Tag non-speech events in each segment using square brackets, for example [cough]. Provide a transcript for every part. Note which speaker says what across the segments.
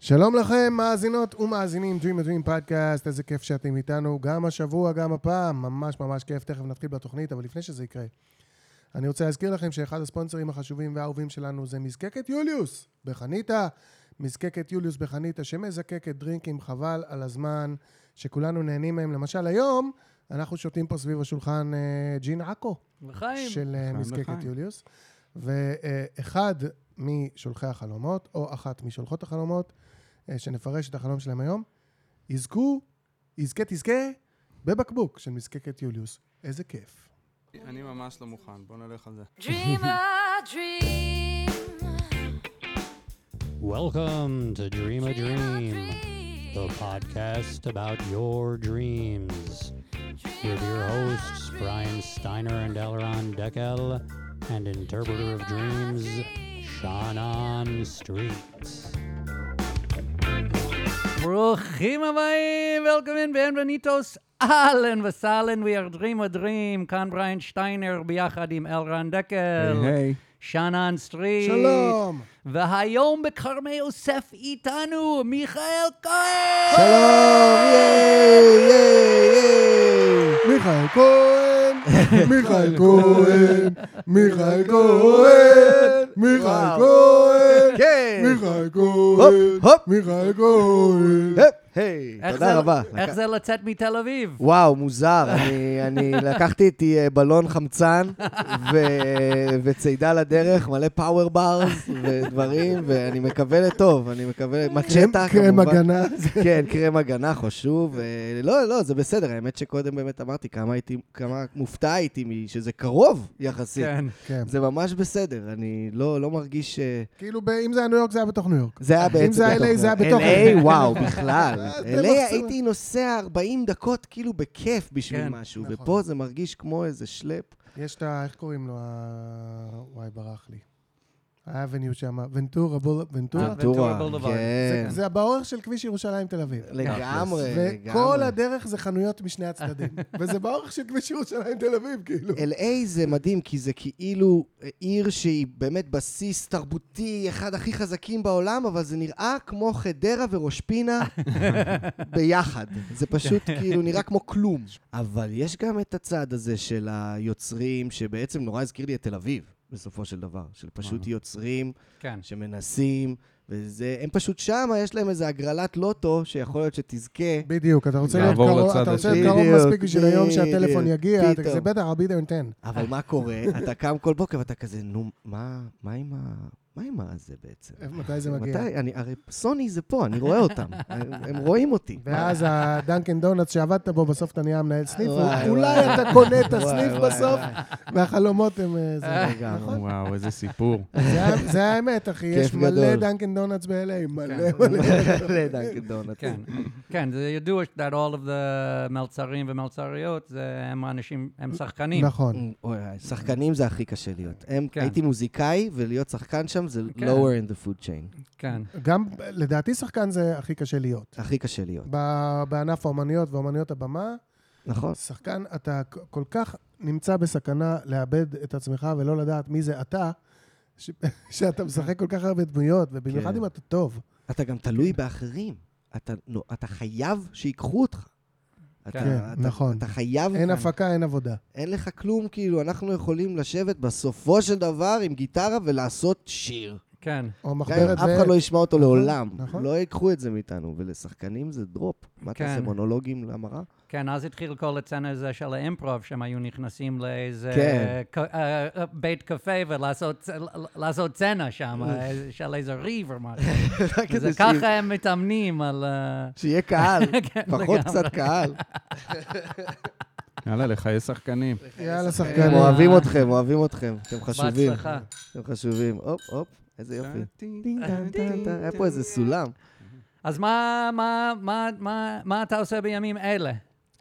Speaker 1: שלום לכם, מאזינות ומאזינים, Dream a Dream Podcast, איזה כיף שאתם איתנו, גם השבוע, גם הפעם, ממש ממש כיף, תכף נתחיל בתוכנית, אבל לפני שזה יקרה, אני רוצה להזכיר לכם שאחד הספונסרים החשובים והאהובים שלנו זה מזקקת יוליוס בחניתה, מזקקת יוליוס בחניתה, שמזקקת דרינקים חבל על הזמן, שכולנו נהנים מהם. למשל היום, אנחנו שותים פה סביב השולחן אה, ג'ין עכו
Speaker 2: לחיים.
Speaker 1: של אה,
Speaker 3: חיים
Speaker 1: מזקקת
Speaker 3: לחיים.
Speaker 1: יוליוס, ואחד משולחי החלומות, או אחת משולחות החלומות, אה, שנפרש את החלום שלהם היום, יזכו, יזכה תזכה, בבקבוק של מזקקת יוליוס. איזה כיף.
Speaker 3: אני ממש לא מוכן, בוא נלך על זה.
Speaker 4: Dream a dream.
Speaker 5: Welcome to [laughs] Dream a Dream,
Speaker 4: dream.
Speaker 5: the podcast about your dreams. With your hosts, Brian Steiner and Elron Deckel, and interpreter of dreams, Shannon Streets.
Speaker 2: ברוכים הבאים, Welcome in, ביenvenidos, אהלן וסהלן, We are Dream a Dream, כאן בריין שטיינר ביחד עם אלרן דקל,
Speaker 3: היי.
Speaker 2: שנן
Speaker 1: אה.
Speaker 2: סטריט,
Speaker 1: שלום.
Speaker 2: והיום בכרמי יוסף איתנו, מיכאל כהן!
Speaker 1: שלום, ייי, ייי, ייי. מיכאל [laughs] כהן, מיכאל כהן, מיכאל כהן, מיכאל
Speaker 2: וואו.
Speaker 1: כהן,
Speaker 6: כן!
Speaker 1: מיכאל כהן,
Speaker 6: הופ.
Speaker 1: מיכאל כהן.
Speaker 6: היי, היי,
Speaker 2: איך
Speaker 6: תודה
Speaker 2: זה-
Speaker 6: רבה.
Speaker 2: איך
Speaker 6: לק-
Speaker 2: זה לצאת מתל אביב?
Speaker 6: וואו, מוזר. אני- אני לקחתי איתי אה, בלון חמצן ו- וצידה לדרך, מלא פאוור ברס ודברים, ואני מקווה לטוב, אני מקווה... מצ'טה,
Speaker 1: קרם- קרם הגנה.
Speaker 6: כן, קרם הגנה חשוב. אה, לא, לא, זה בסדר. האמת שקודם באמת אמרתי כמה הייתי, כמה מופתע הייתי מ- שזה קרוב יחסית.
Speaker 2: כן.
Speaker 1: כן.
Speaker 6: זה ממש בסדר, אני לא לא מרגיש... אה,
Speaker 1: כאילו, ב- אם זה היה ניו יורק, זה היה בתוך ניו יורק.
Speaker 6: זה היה בעצם...
Speaker 1: אם אה, זה היה LA, זה היה בתוך
Speaker 6: LA,
Speaker 1: [laughs]
Speaker 6: וואו, בכלל.
Speaker 1: אז
Speaker 6: LA
Speaker 1: במחסום.
Speaker 6: הייתי נוסע 40 דקות כאילו בכיף בשביל
Speaker 2: כן,
Speaker 6: משהו,
Speaker 1: נכון.
Speaker 6: ופה זה מרגיש כמו איזה שלפ.
Speaker 1: יש את ה... איך קוראים לו? ה- וואי, ברח לי. האבניו שם, ונטורה, בול- ונטורה.
Speaker 2: ונטורה. בולדווארד.
Speaker 6: אה, כן.
Speaker 1: זה באורך של כביש ירושלים תל אביב.
Speaker 6: לגמרי,
Speaker 1: וכל
Speaker 6: לגמרי.
Speaker 1: הדרך זה חנויות משני
Speaker 6: [laughs]
Speaker 1: הצדדים. וזה באורך של כביש ירושלים תל אביב, כאילו.
Speaker 6: LA זה מדהים, כי זה כאילו עיר שהיא באמת בסיס תרבותי, אחד הכי חזקים בעולם, אבל זה נראה כמו חדרה וראש פינה ביחד. זה פשוט כאילו נראה כמו כלום. אבל יש גם את הצד הזה של היוצרים, שבעצם נורא הזכיר לי את תל אביב, בסופו של דבר. של פשוט יוצרים
Speaker 2: כן.
Speaker 6: שמנסים, וזה, הם פשוט שמה, יש להם איזה הגרלת לוטו, שיכול להיות שתזכה.
Speaker 1: בדיוק, אתה רוצה להיות
Speaker 3: לעבור
Speaker 1: קרוב,
Speaker 3: לצד
Speaker 1: אתה רוצה
Speaker 6: השני.
Speaker 1: להיות קרוב
Speaker 6: בדיוק,
Speaker 1: מספיק בשביל היום שהטלפון
Speaker 6: בדיוק,
Speaker 1: יגיע, אתה-
Speaker 6: פתאום.
Speaker 1: זה בטח הרבה יותר נותן.
Speaker 6: אבל מה קורה? אתה קם כל בוקר ואתה כזה, נו, מה, מה עם ה... מה עם הזה בעצם?
Speaker 1: מתי זה מגיע?
Speaker 6: מתי? אני, הרי סוני זה פה, אני רואה אותם. הם, הם רואים אותי.
Speaker 1: ואז הדנקן דונלדס שעבדת בו, בסוף אתה נהיה המנהל סניף,
Speaker 6: וואי, וואי.
Speaker 1: אולי אתה קונה את הסניף
Speaker 6: [laughs] וואי, וואי,
Speaker 1: בסוף, והחלומות הם... אה, זה.
Speaker 6: לגמרי.
Speaker 1: נכון?
Speaker 3: וואו, איזה סיפור.
Speaker 1: זה ה- זה האמת, אחי, יש
Speaker 6: כיף
Speaker 1: מלא
Speaker 6: גדול.
Speaker 1: דנקן דונלדס ב-LA, מלא
Speaker 6: נכון. [laughs]
Speaker 2: כן.
Speaker 1: מלא.
Speaker 6: לדנקן דונלדס.
Speaker 2: כן, כן, זה ידוע that all of the מלצרים ומלצריות, זה- הם אנשים, הם שחקנים.
Speaker 1: נכון.
Speaker 6: אוי, שחקנים זה הכי קשה להיות. הם,
Speaker 2: כן.
Speaker 6: הייתי מוזיקאי, ולהיות שחקן שם זה
Speaker 2: כן.
Speaker 6: lower in the food chain.
Speaker 2: כן.
Speaker 1: גם, לדעתי, שחקן זה הכי קשה להיות.
Speaker 6: הכי קשה להיות,
Speaker 1: ב- בענף האומנויות ואומנויות הבמה,
Speaker 6: נכון?
Speaker 1: שחקן, אתה כ- כל כך נמצא בסכנה לאבד את עצמך ולא לדעת מי זה אתה, ש- [laughs] שאתה משחק כל כך הרבה דמויות, ובמיוחד
Speaker 6: כן.
Speaker 1: אם אתה טוב.
Speaker 6: אתה גם תלוי באחרים. אתה, נו, אתה חייב שיקחו אותך. אתה-
Speaker 1: כן,
Speaker 6: אתה-
Speaker 1: נכון.
Speaker 6: אתה חייב...
Speaker 1: אין הפקה, אין עבודה.
Speaker 6: אין לך כלום, כאילו, אנחנו יכולים לשבת בסופו של דבר עם גיטרה ולעשות שיר.
Speaker 2: כן.
Speaker 1: או
Speaker 6: גם
Speaker 1: מחברת
Speaker 6: אם אף אחד לא ישמע אותו לעולם.
Speaker 1: נכון.
Speaker 6: לא ייקחו את זה מאיתנו, ולשחקנים זה דרופ. מה
Speaker 2: כן.
Speaker 6: אתה עושה, מונולוגים
Speaker 2: [laughs]
Speaker 6: למראה?
Speaker 2: כן, אז התחיל כל הצנה הזה של האימפרוב, שהם היו נכנסים לאיזה
Speaker 6: כן.
Speaker 2: ק- אה, אה, בית קפה ולעשות לעשות צנה שם, אה, של איזה ריב או
Speaker 6: [laughs]
Speaker 2: משהו. וזה
Speaker 6: כדי ש-
Speaker 2: ככה הם מתאמנים על... אה, [laughs]
Speaker 6: שיהיה קהל,
Speaker 2: כן,
Speaker 6: פחות
Speaker 2: לגמרי.
Speaker 6: קצת
Speaker 2: [laughs]
Speaker 6: קהל.
Speaker 3: יאללה, לחיי שחקנים.
Speaker 1: יאללה,
Speaker 6: הם
Speaker 1: שחקנים.
Speaker 6: אוהבים אתכם, אוהבים אתכם. אתם חשובים.
Speaker 2: כן. בהצלחה. כן.
Speaker 6: אתם חשובים. הופ, הופ, איזה יופי.
Speaker 2: [laughs]
Speaker 6: טין, טן, טן, טן. היה פה איזה סולם.
Speaker 2: אז מה- מה- מה- מה- מה אתה עושה בימים אלה?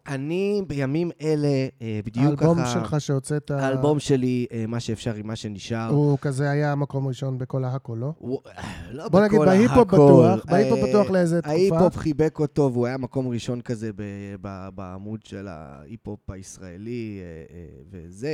Speaker 6: אני בימים אלה, אה, בדיוק ככה...
Speaker 1: האלבום שלך שהוצאת,
Speaker 6: האלבום שלי, אה, מה שאפשר עם מה שנשאר.
Speaker 1: הוא כזה היה מקום ראשון בכל ההכל, לא?
Speaker 6: הוא- [sighs] לא
Speaker 1: בוא נגיד,
Speaker 6: בכל
Speaker 1: בהיפ-הופ
Speaker 6: הכל.
Speaker 1: בטוח, בהיפ-הופ
Speaker 6: אה,
Speaker 1: בטוח לאיזה תקופה.
Speaker 6: ההיפ-הופ חיבק אותו, והוא היה מקום ראשון כזה ב- ב- בעמוד של ההיפ-הופ הישראלי אה, אה, וזה,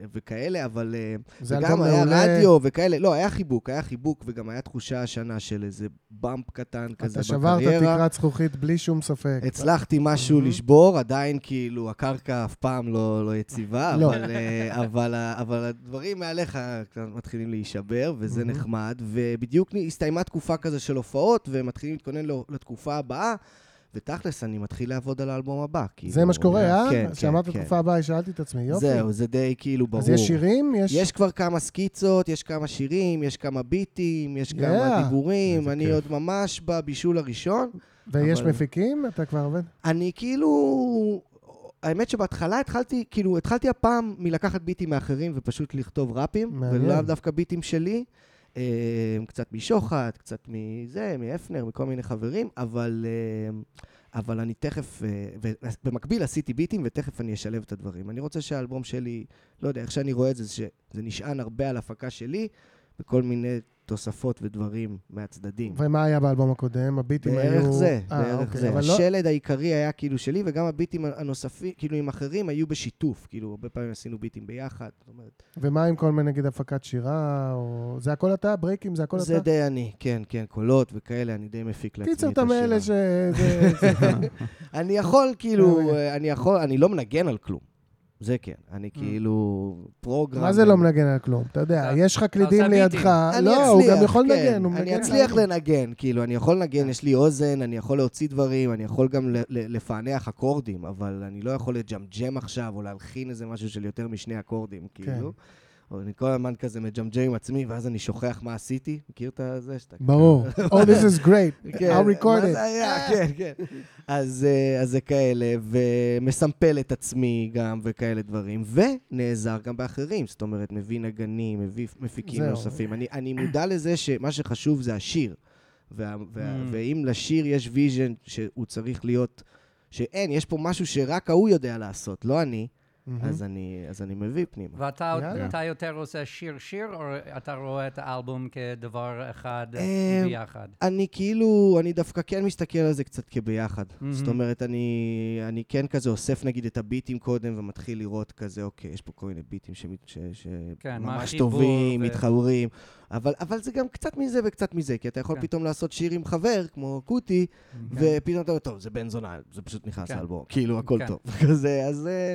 Speaker 6: אה, וכאלה, אבל... אה,
Speaker 1: זה
Speaker 6: וגם
Speaker 1: אלבום
Speaker 6: היה
Speaker 1: מעולה.
Speaker 6: רדיו וכאלה. לא, היה חיבוק, היה חיבוק, וגם היה תחושה השנה של איזה באמפ קטן כזה
Speaker 1: אתה
Speaker 6: בקריירה.
Speaker 1: שברת תקרת זכוכית בלי שום ספק.
Speaker 6: הצלחתי משהו לשבור, עדיין כאילו הקרקע אף פעם לא, לא יציבה,
Speaker 1: לא.
Speaker 6: אבל, אה, אבל, ה- אבל הדברים מעליך קצת מתחילים להישבר, וזה נחמד, ובדיוק נ- הסתיימה תקופה כזה של הופעות, ומתחילים להתכונן לו- לתקופה הבאה, ותכלס, אני מתחיל לעבוד על האלבום הבא. כאילו,
Speaker 1: זה מה שקורה, אה?
Speaker 6: כן, כן,
Speaker 1: שאמרת
Speaker 6: כן.
Speaker 1: תקופה הבאה, שאלתי את עצמי, יופי.
Speaker 6: זהו, זה די כאילו ברור.
Speaker 1: אז יש שירים?
Speaker 6: יש כבר כמה סקיצות, יש כמה שירים, יש כמה ביטים, יש
Speaker 1: יאה.
Speaker 6: כמה דיבורים,
Speaker 3: איזה
Speaker 6: אני
Speaker 3: כיף.
Speaker 6: עוד ממש בבישול הראשון.
Speaker 1: ויש
Speaker 6: אבל-
Speaker 1: מפיקים? אתה כבר עובד?
Speaker 6: אני כאילו... האמת שבהתחלה התחלתי, כאילו, התחלתי הפעם מלקחת ביטים מאחרים ופשוט לכתוב ראפים,
Speaker 1: מעניין.
Speaker 6: ולאו דווקא ביטים שלי. אה, קצת משוחט, קצת מזה, מאפנר, מכל מיני חברים, אבל, אה, אבל אני תכף, אה, במקביל עשיתי ביטים ותכף אני אשלב את הדברים. אני רוצה שהאלבום שלי, לא יודע, איך שאני רואה את זה, זה שזה נשען הרבה על הפקה שלי, וכל מיני תוספות ודברים מהצדדים.
Speaker 1: ומה היה באלבום הקודם? הביטים היו...
Speaker 6: בערך זה,
Speaker 1: אה,
Speaker 6: בערך
Speaker 1: אוקיי,
Speaker 6: זה.
Speaker 1: אבל לא-
Speaker 6: השלד העיקרי היה כאילו שלי, וגם הביטים הנוספים, כאילו עם אחרים, היו בשיתוף. כאילו, הרבה פעמים עשינו ביטים ביחד. זאת אומרת,
Speaker 1: ומה עם כל מיני, נגיד, הפקת שירה, או... זה הכל אתה? ברייקים זה הכל
Speaker 6: זה
Speaker 1: אתה?
Speaker 6: די אני, כן, כן, קולות וכאלה, אני די מפיק לעצמי את
Speaker 1: קיצר, אתה
Speaker 6: השירה.
Speaker 1: מאלה ש... זה-
Speaker 6: [laughs] אני יכול, כאילו,
Speaker 1: [laughs] אה,
Speaker 6: אה, אני יכול, אני לא מנגן על כלום. זה כן. אני כאילו פרוגרם.
Speaker 1: מה זה לא מנגן על כלום? אתה יודע,
Speaker 2: אתה-
Speaker 1: יש לך קלידים
Speaker 2: ביטים.
Speaker 1: לידך.
Speaker 6: אני
Speaker 1: לא, הוא
Speaker 6: אצליח,
Speaker 1: גם יכול
Speaker 6: כן.
Speaker 1: לנגן, הוא מנגן.
Speaker 6: אני אצליח לנגן, כאילו, אני יכול לנגן, יש לי אוזן, אני יכול להוציא דברים, אני יכול גם ל- ל- לפענח אקורדים, אבל אני לא יכול לג'מג'ם עכשיו, או להלחין איזה משהו של יותר משני אקורדים,
Speaker 1: כן.
Speaker 6: כאילו. או אני כל הזמן כזה מג'מג'ם עם עצמי, ואז אני שוכח מה עשיתי. מכיר את זה שאתה... [laughs]
Speaker 1: ברור. Oh, this is great.
Speaker 6: כן,
Speaker 1: I'll record
Speaker 6: מה
Speaker 1: it.
Speaker 6: זה היה? כן, כן. אז אה, אז זה כאלה, ומסמפל את עצמי גם, וכאלה דברים, ונעזר גם באחרים. זאת אומרת, מביא נגנים, מביא מפיקים
Speaker 1: זהו.
Speaker 6: נוספים. אני- אני מודע לזה שמה שחשוב זה השיר. וה- וה-
Speaker 2: Mm.
Speaker 6: ואם לשיר יש ויז'ן שהוא צריך להיות, שאין, יש פה משהו שרק ההוא יודע לעשות, לא אני,
Speaker 1: Mhm. Mm-hmm.
Speaker 6: אז אני אז אני מביא פנימה.
Speaker 2: ואתה עוד-
Speaker 1: יאללה.
Speaker 2: אתה יותר עושה שיר-שיר, או אתה רואה את האלבום כדבר אחד
Speaker 6: אה,
Speaker 2: ביחד?
Speaker 6: אני כאילו, אני דווקא כן מסתכל על זה קצת כביחד. Mm-hmm.
Speaker 2: מהמם.
Speaker 6: זאת אומרת, אני, אני כן כזה אוסף נגיד את הביטים קודם ומתחיל לראות כזה, אוקיי, יש פה כל מיני ביטים שממש ש, ש,
Speaker 2: כן, מה
Speaker 6: ממש
Speaker 2: החיבור
Speaker 6: טובים,
Speaker 2: ו-
Speaker 6: מתחברים, אבל, אבל זה גם קצת מזה וקצת מזה, כי אתה יכול
Speaker 2: כן.
Speaker 6: כן. פתאום לעשות שיר עם חבר, כמו קוטי,
Speaker 2: כן.
Speaker 6: ופתאום אתה אומר, טוב, זה בן זונה, זה פשוט נכנס
Speaker 2: כן.
Speaker 6: לאלבום, כאילו, הכל
Speaker 2: כן.
Speaker 6: טוב. [laughs] כזה, אז אה,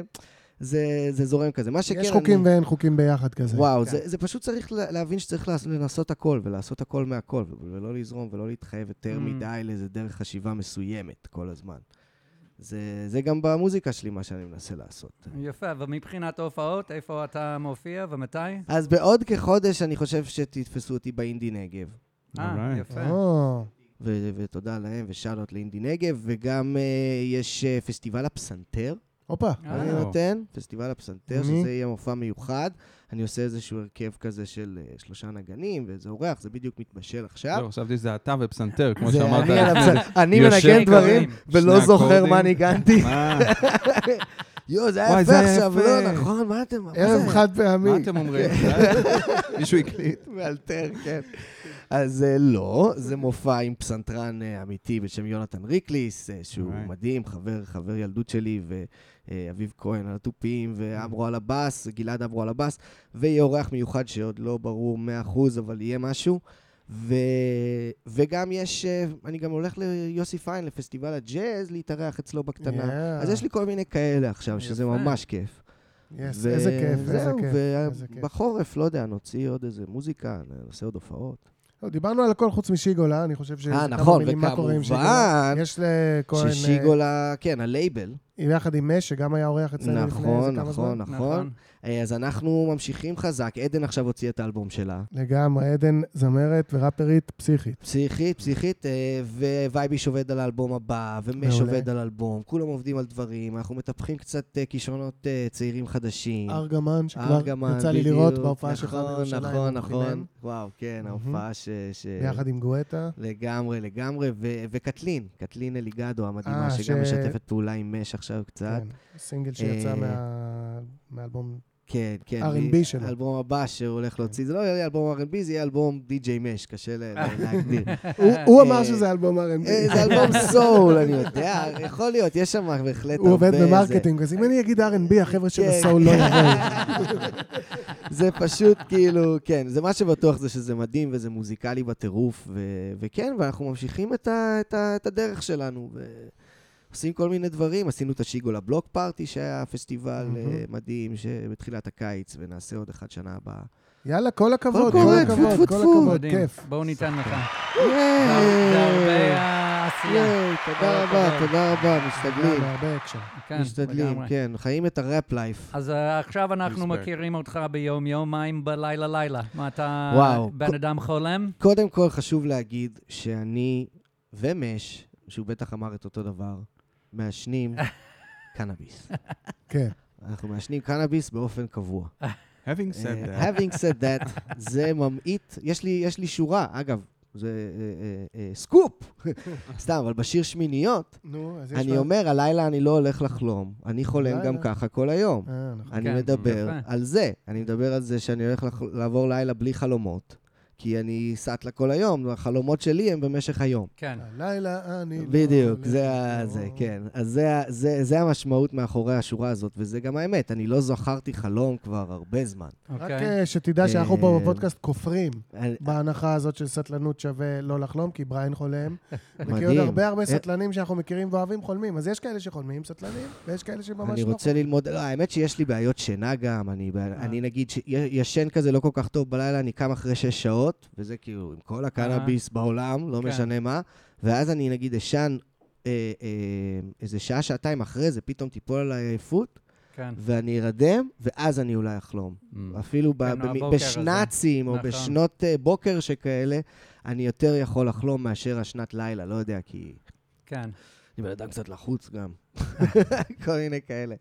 Speaker 6: זה, זה זורם כזה. מה שכן,
Speaker 1: יש חוקים
Speaker 6: אני...
Speaker 1: ואין חוקים ביחד כזה.
Speaker 6: וואו,
Speaker 2: כן.
Speaker 6: זה, זה פשוט צריך לה- להבין שצריך לעס- לנסות הכל, ולעשות הכל מהכל, ו- ולא לזרום ולא להתחייב יותר
Speaker 2: Mm.
Speaker 6: מדי לאיזה דרך חשיבה מסוימת כל הזמן. זה, זה גם במוזיקה שלי, מה שאני מנסה לעשות.
Speaker 2: יפה, ומבחינת הופעות, איפה אתה מופיע ומתי?
Speaker 6: אז בעוד כחודש אני חושב שתתפסו אותי באינדי נגב.
Speaker 2: אה,
Speaker 1: Oh,
Speaker 3: Alright.
Speaker 2: יפה.
Speaker 6: נכון.
Speaker 1: או,
Speaker 6: ו- ותודה להם, ושאלות לאינדי נגב, וגם אה, יש אה, פסטיבל הפסנתר,
Speaker 1: הופה.
Speaker 2: אה.
Speaker 6: אני נותן, פסטיבל הפסנתר,
Speaker 1: מי?
Speaker 6: שזה יהיה מופע מיוחד. אני עושה איזשהו הרכב כזה של אה, שלושה נגנים, ואיזה אורח, זה בדיוק מתבשל עכשיו.
Speaker 3: זהו, לא, חשבתי שזה אתה ופסנתר, כמו
Speaker 6: זה
Speaker 3: שאמרת. אה,
Speaker 6: אני על הפסנתר. אני
Speaker 3: יושב
Speaker 6: מנגן דברים
Speaker 2: קוראים.
Speaker 6: ולא
Speaker 3: שני
Speaker 6: זוכר
Speaker 3: אקורדים.
Speaker 6: מה ניגנתי.
Speaker 3: מה-
Speaker 6: [laughs] יואו, זה היה
Speaker 3: וואי,
Speaker 6: יפה
Speaker 3: זה היה
Speaker 6: עכשיו,
Speaker 3: יפה.
Speaker 6: לא נכון, מה אתם... מה
Speaker 1: ערב
Speaker 6: זה?
Speaker 1: חד פעמי.
Speaker 3: מה אתם
Speaker 6: [laughs]
Speaker 3: אומרים? מישהו הקליט.
Speaker 6: מאלתר, כן. אז אה, לא, זה מופע עם פסנתרן אה, אמיתי בשם יונתן ריקליס, אה, שהוא
Speaker 3: אולי.
Speaker 6: מדהים, חבר, חבר ילדות שלי, ואביב כהן על התופים, ואברו על הבאס, גלעד אברו על הבאס, ויהיה אורח מיוחד שעוד לא ברור 100%, אבל יהיה משהו. ו... וגם יש, אה, אני גם הולך ליוסי פיין, לפסטיבל הג'אז, להתארח אצלו בקטנה.
Speaker 1: Yeah.
Speaker 6: אז יש לי כל מיני כאלה עכשיו, שזה
Speaker 2: יפה.
Speaker 6: ממש כיף.
Speaker 1: Yes,
Speaker 6: ו-
Speaker 1: איזה כיף, איזה
Speaker 6: זהו,
Speaker 1: כיף. איזה כיף.
Speaker 6: ובחורף, לא יודע, נוציא עוד איזה מוזיקה, נעשה עוד הופעות.
Speaker 1: לא, דיברנו על הכל חוץ משיגולה, אני חושב ש...
Speaker 6: אה,
Speaker 1: כמה
Speaker 6: נכון,
Speaker 1: מילים, מה קורה עם שיגולה.
Speaker 6: וכמובן
Speaker 1: יש לכהן,
Speaker 6: ששיגולה, כן, הלייבל.
Speaker 1: אה, יחד עם מש, שגם היה אורח אצלנו לפני איזה
Speaker 6: נכון,
Speaker 1: כמה
Speaker 6: נכון,
Speaker 1: זמן.
Speaker 6: נכון. אה, אז אנחנו ממשיכים חזק. עדן עכשיו הוציאה את האלבום שלה.
Speaker 1: לגמרי, עדן זמרת וראפרית פסיכית.
Speaker 6: פסיכית, פסיכית, אה, ווייביש עובד על האלבום הבא, ומש
Speaker 1: מעולה.
Speaker 6: עובד על אלבום. כולם עובדים על דברים, אנחנו מטפחים קצת אה, כישרונות אה, צעירים חדשים.
Speaker 1: ארגמן, שכבר
Speaker 6: כן. ארגמן,
Speaker 1: אה, יצא לי
Speaker 6: בדיוק.
Speaker 1: לראות בהופעה שלך
Speaker 6: נכון,
Speaker 1: בירושלים.
Speaker 6: נכון, נכון.
Speaker 1: בחינם,
Speaker 6: וואו, כן,
Speaker 1: מהמם.
Speaker 6: ההופעה ש... ש-
Speaker 1: ביחד עם גואטה.
Speaker 6: לגמרי, לגמרי, ו- וקטלין, קטלין אליגדו המדהימה,
Speaker 1: אה,
Speaker 6: שגם
Speaker 1: ש-
Speaker 6: משתפת פעולה עם מש עכשיו קצת.
Speaker 1: כן, סינגל שיצא
Speaker 6: אה,
Speaker 1: מה-
Speaker 6: [laughs]
Speaker 1: מהאלבום.
Speaker 6: כן, כן.
Speaker 1: R&B
Speaker 6: מי-
Speaker 1: שלו.
Speaker 6: האלבום הבא שהוא
Speaker 1: כן.
Speaker 6: הולך להוציא. זה לא יהיה אלבום R&B, זה יהיה אלבום DJ מש,
Speaker 1: [laughs]
Speaker 6: קשה ל- להגדיר.
Speaker 1: הוא- הוא אמר
Speaker 6: אה,
Speaker 1: שזה אלבום R&B.
Speaker 6: אה, זה אלבום סול, אני יודע, יכול להיות, יש שם בהחלט
Speaker 1: הוא עובד
Speaker 6: [laughs] הרבה זה.
Speaker 1: במרקטינג, אז אם אני אגיד R&B, החבר'ה של
Speaker 6: כן. [laughs]
Speaker 1: הסול לא יבואו.
Speaker 6: זה פשוט כאילו, כן, זה מה שבטוח זה שזה מדהים וזה מוזיקלי בטירוף, ו- וכן, ואנחנו ממשיכים את, ה- את, ה- את הדרך שלנו, ועושים כל מיני דברים. עשינו את השיגו לבלוק פארטי, שהיה פסטיבל
Speaker 1: מהמם.
Speaker 6: אה, מדהים שבתחילת הקיץ, ונעשה עוד אחד שנה הבאה.
Speaker 1: יאללה, כל הכבוד,
Speaker 6: כל
Speaker 1: כל
Speaker 6: הכבוד, טפו,
Speaker 1: הכבוד, כל
Speaker 6: טפו, טפו.
Speaker 1: הכבוד,
Speaker 2: מדהים.
Speaker 1: כיף.
Speaker 2: בואו ניתן לך. זה זה הרבה
Speaker 6: ייי!
Speaker 2: אה, עשייה.
Speaker 6: ייי, תודה רבה, תודה רבה, משתדלים.
Speaker 1: יאללה, לא, הרבה אקשן.
Speaker 2: כן,
Speaker 6: משתדלים,
Speaker 2: לגמרי.
Speaker 6: כן, חיים את הראפ לייף.
Speaker 2: אז אה, עכשיו אנחנו
Speaker 3: Respect.
Speaker 2: מכירים אותך ביום-יום, מה אם בלילה-לילה? מה, אתה
Speaker 6: וואו.
Speaker 2: בן אדם חולם?
Speaker 6: קודם כל, חשוב להגיד שאני ומש, שהוא בטח אמר את אותו דבר,
Speaker 1: [laughs]
Speaker 6: מעשנים קנאביס.
Speaker 1: כן.
Speaker 6: אנחנו מעשנים קנאביס באופן קבוע.
Speaker 3: Having
Speaker 6: אה,
Speaker 3: said that,
Speaker 6: Having said that, זה ממעיט, יש לי, יש לי שורה, אגב, זה אה, אה,
Speaker 1: [laughs]
Speaker 6: אה, סקופ, סתם, אבל בשיר שמיניות,
Speaker 1: נו, אז יש...
Speaker 6: אני
Speaker 1: מה-
Speaker 6: אומר, הלילה אני לא הולך לחלום, אני חולם גם
Speaker 1: הלילה.
Speaker 6: ככה כל היום.
Speaker 1: אה, נכון.
Speaker 6: אני
Speaker 2: כן,
Speaker 6: מדבר
Speaker 2: יפה.
Speaker 6: על זה. אני מדבר על זה שאני הולך לח- לעבור לילה בלי חלומות, כי אני סאטלה כל היום, והחלומות שלי הם במשך היום.
Speaker 2: כן.
Speaker 1: הלילה אני... לא
Speaker 6: בדיוק,
Speaker 1: הולך
Speaker 6: זה ה-
Speaker 1: לישון.
Speaker 6: זה, כן. אז זה ה- זה- זה המשמעות מאחורי השורה הזאת, וזה גם האמת. אני לא זכרתי חלום כבר הרבה זמן.
Speaker 1: רק
Speaker 2: אוקיי.
Speaker 1: אה, שתדע שאנחנו פה
Speaker 6: אה,
Speaker 1: בפודקאסט כופרים
Speaker 6: אני-
Speaker 1: בהנחה הזאת של סטלנות שווה לא לחלום, כי בריין חולם. וכי עוד
Speaker 6: [laughs] מדהים.
Speaker 1: הרבה הרבה
Speaker 6: אה.
Speaker 1: סטלנים שאנחנו מכירים ואוהבים חולמים. אז יש כאלה שחולמים סטלנים, ויש כאלה שממש
Speaker 6: אני
Speaker 1: לא.
Speaker 6: רוצה ללמוד, לא, האמת שיש לי בעיות שינה גם, אני, בע-
Speaker 2: אה.
Speaker 6: אני נגיד שישן כזה לא כל כך טוב בלילה, אני קם אחרי שש שעות, וזה כאילו עם כל הקנאביס בעולם, לא
Speaker 2: אה. כן.
Speaker 6: משנה מה, ואז אני נגיד אשן אה, אה, איזה שעה, שעתיים אחרי זה, פתאום תיפול עליי עייפות,
Speaker 2: כן.
Speaker 6: ואני ארדם, ואז אני אולי אחלום.
Speaker 3: Mm,
Speaker 6: אפילו ב-
Speaker 2: כן,
Speaker 6: במ-
Speaker 2: הבוקר
Speaker 6: בשנ"צים או
Speaker 2: נכון.
Speaker 6: בשנות אה, בוקר שכאלה, אני יותר יכול לחלום מאשר השנת לילה, לא יודע, כי...
Speaker 2: כן.
Speaker 6: אני בן אדם קצת לחוץ גם. [laughs] כל מיני כאלה.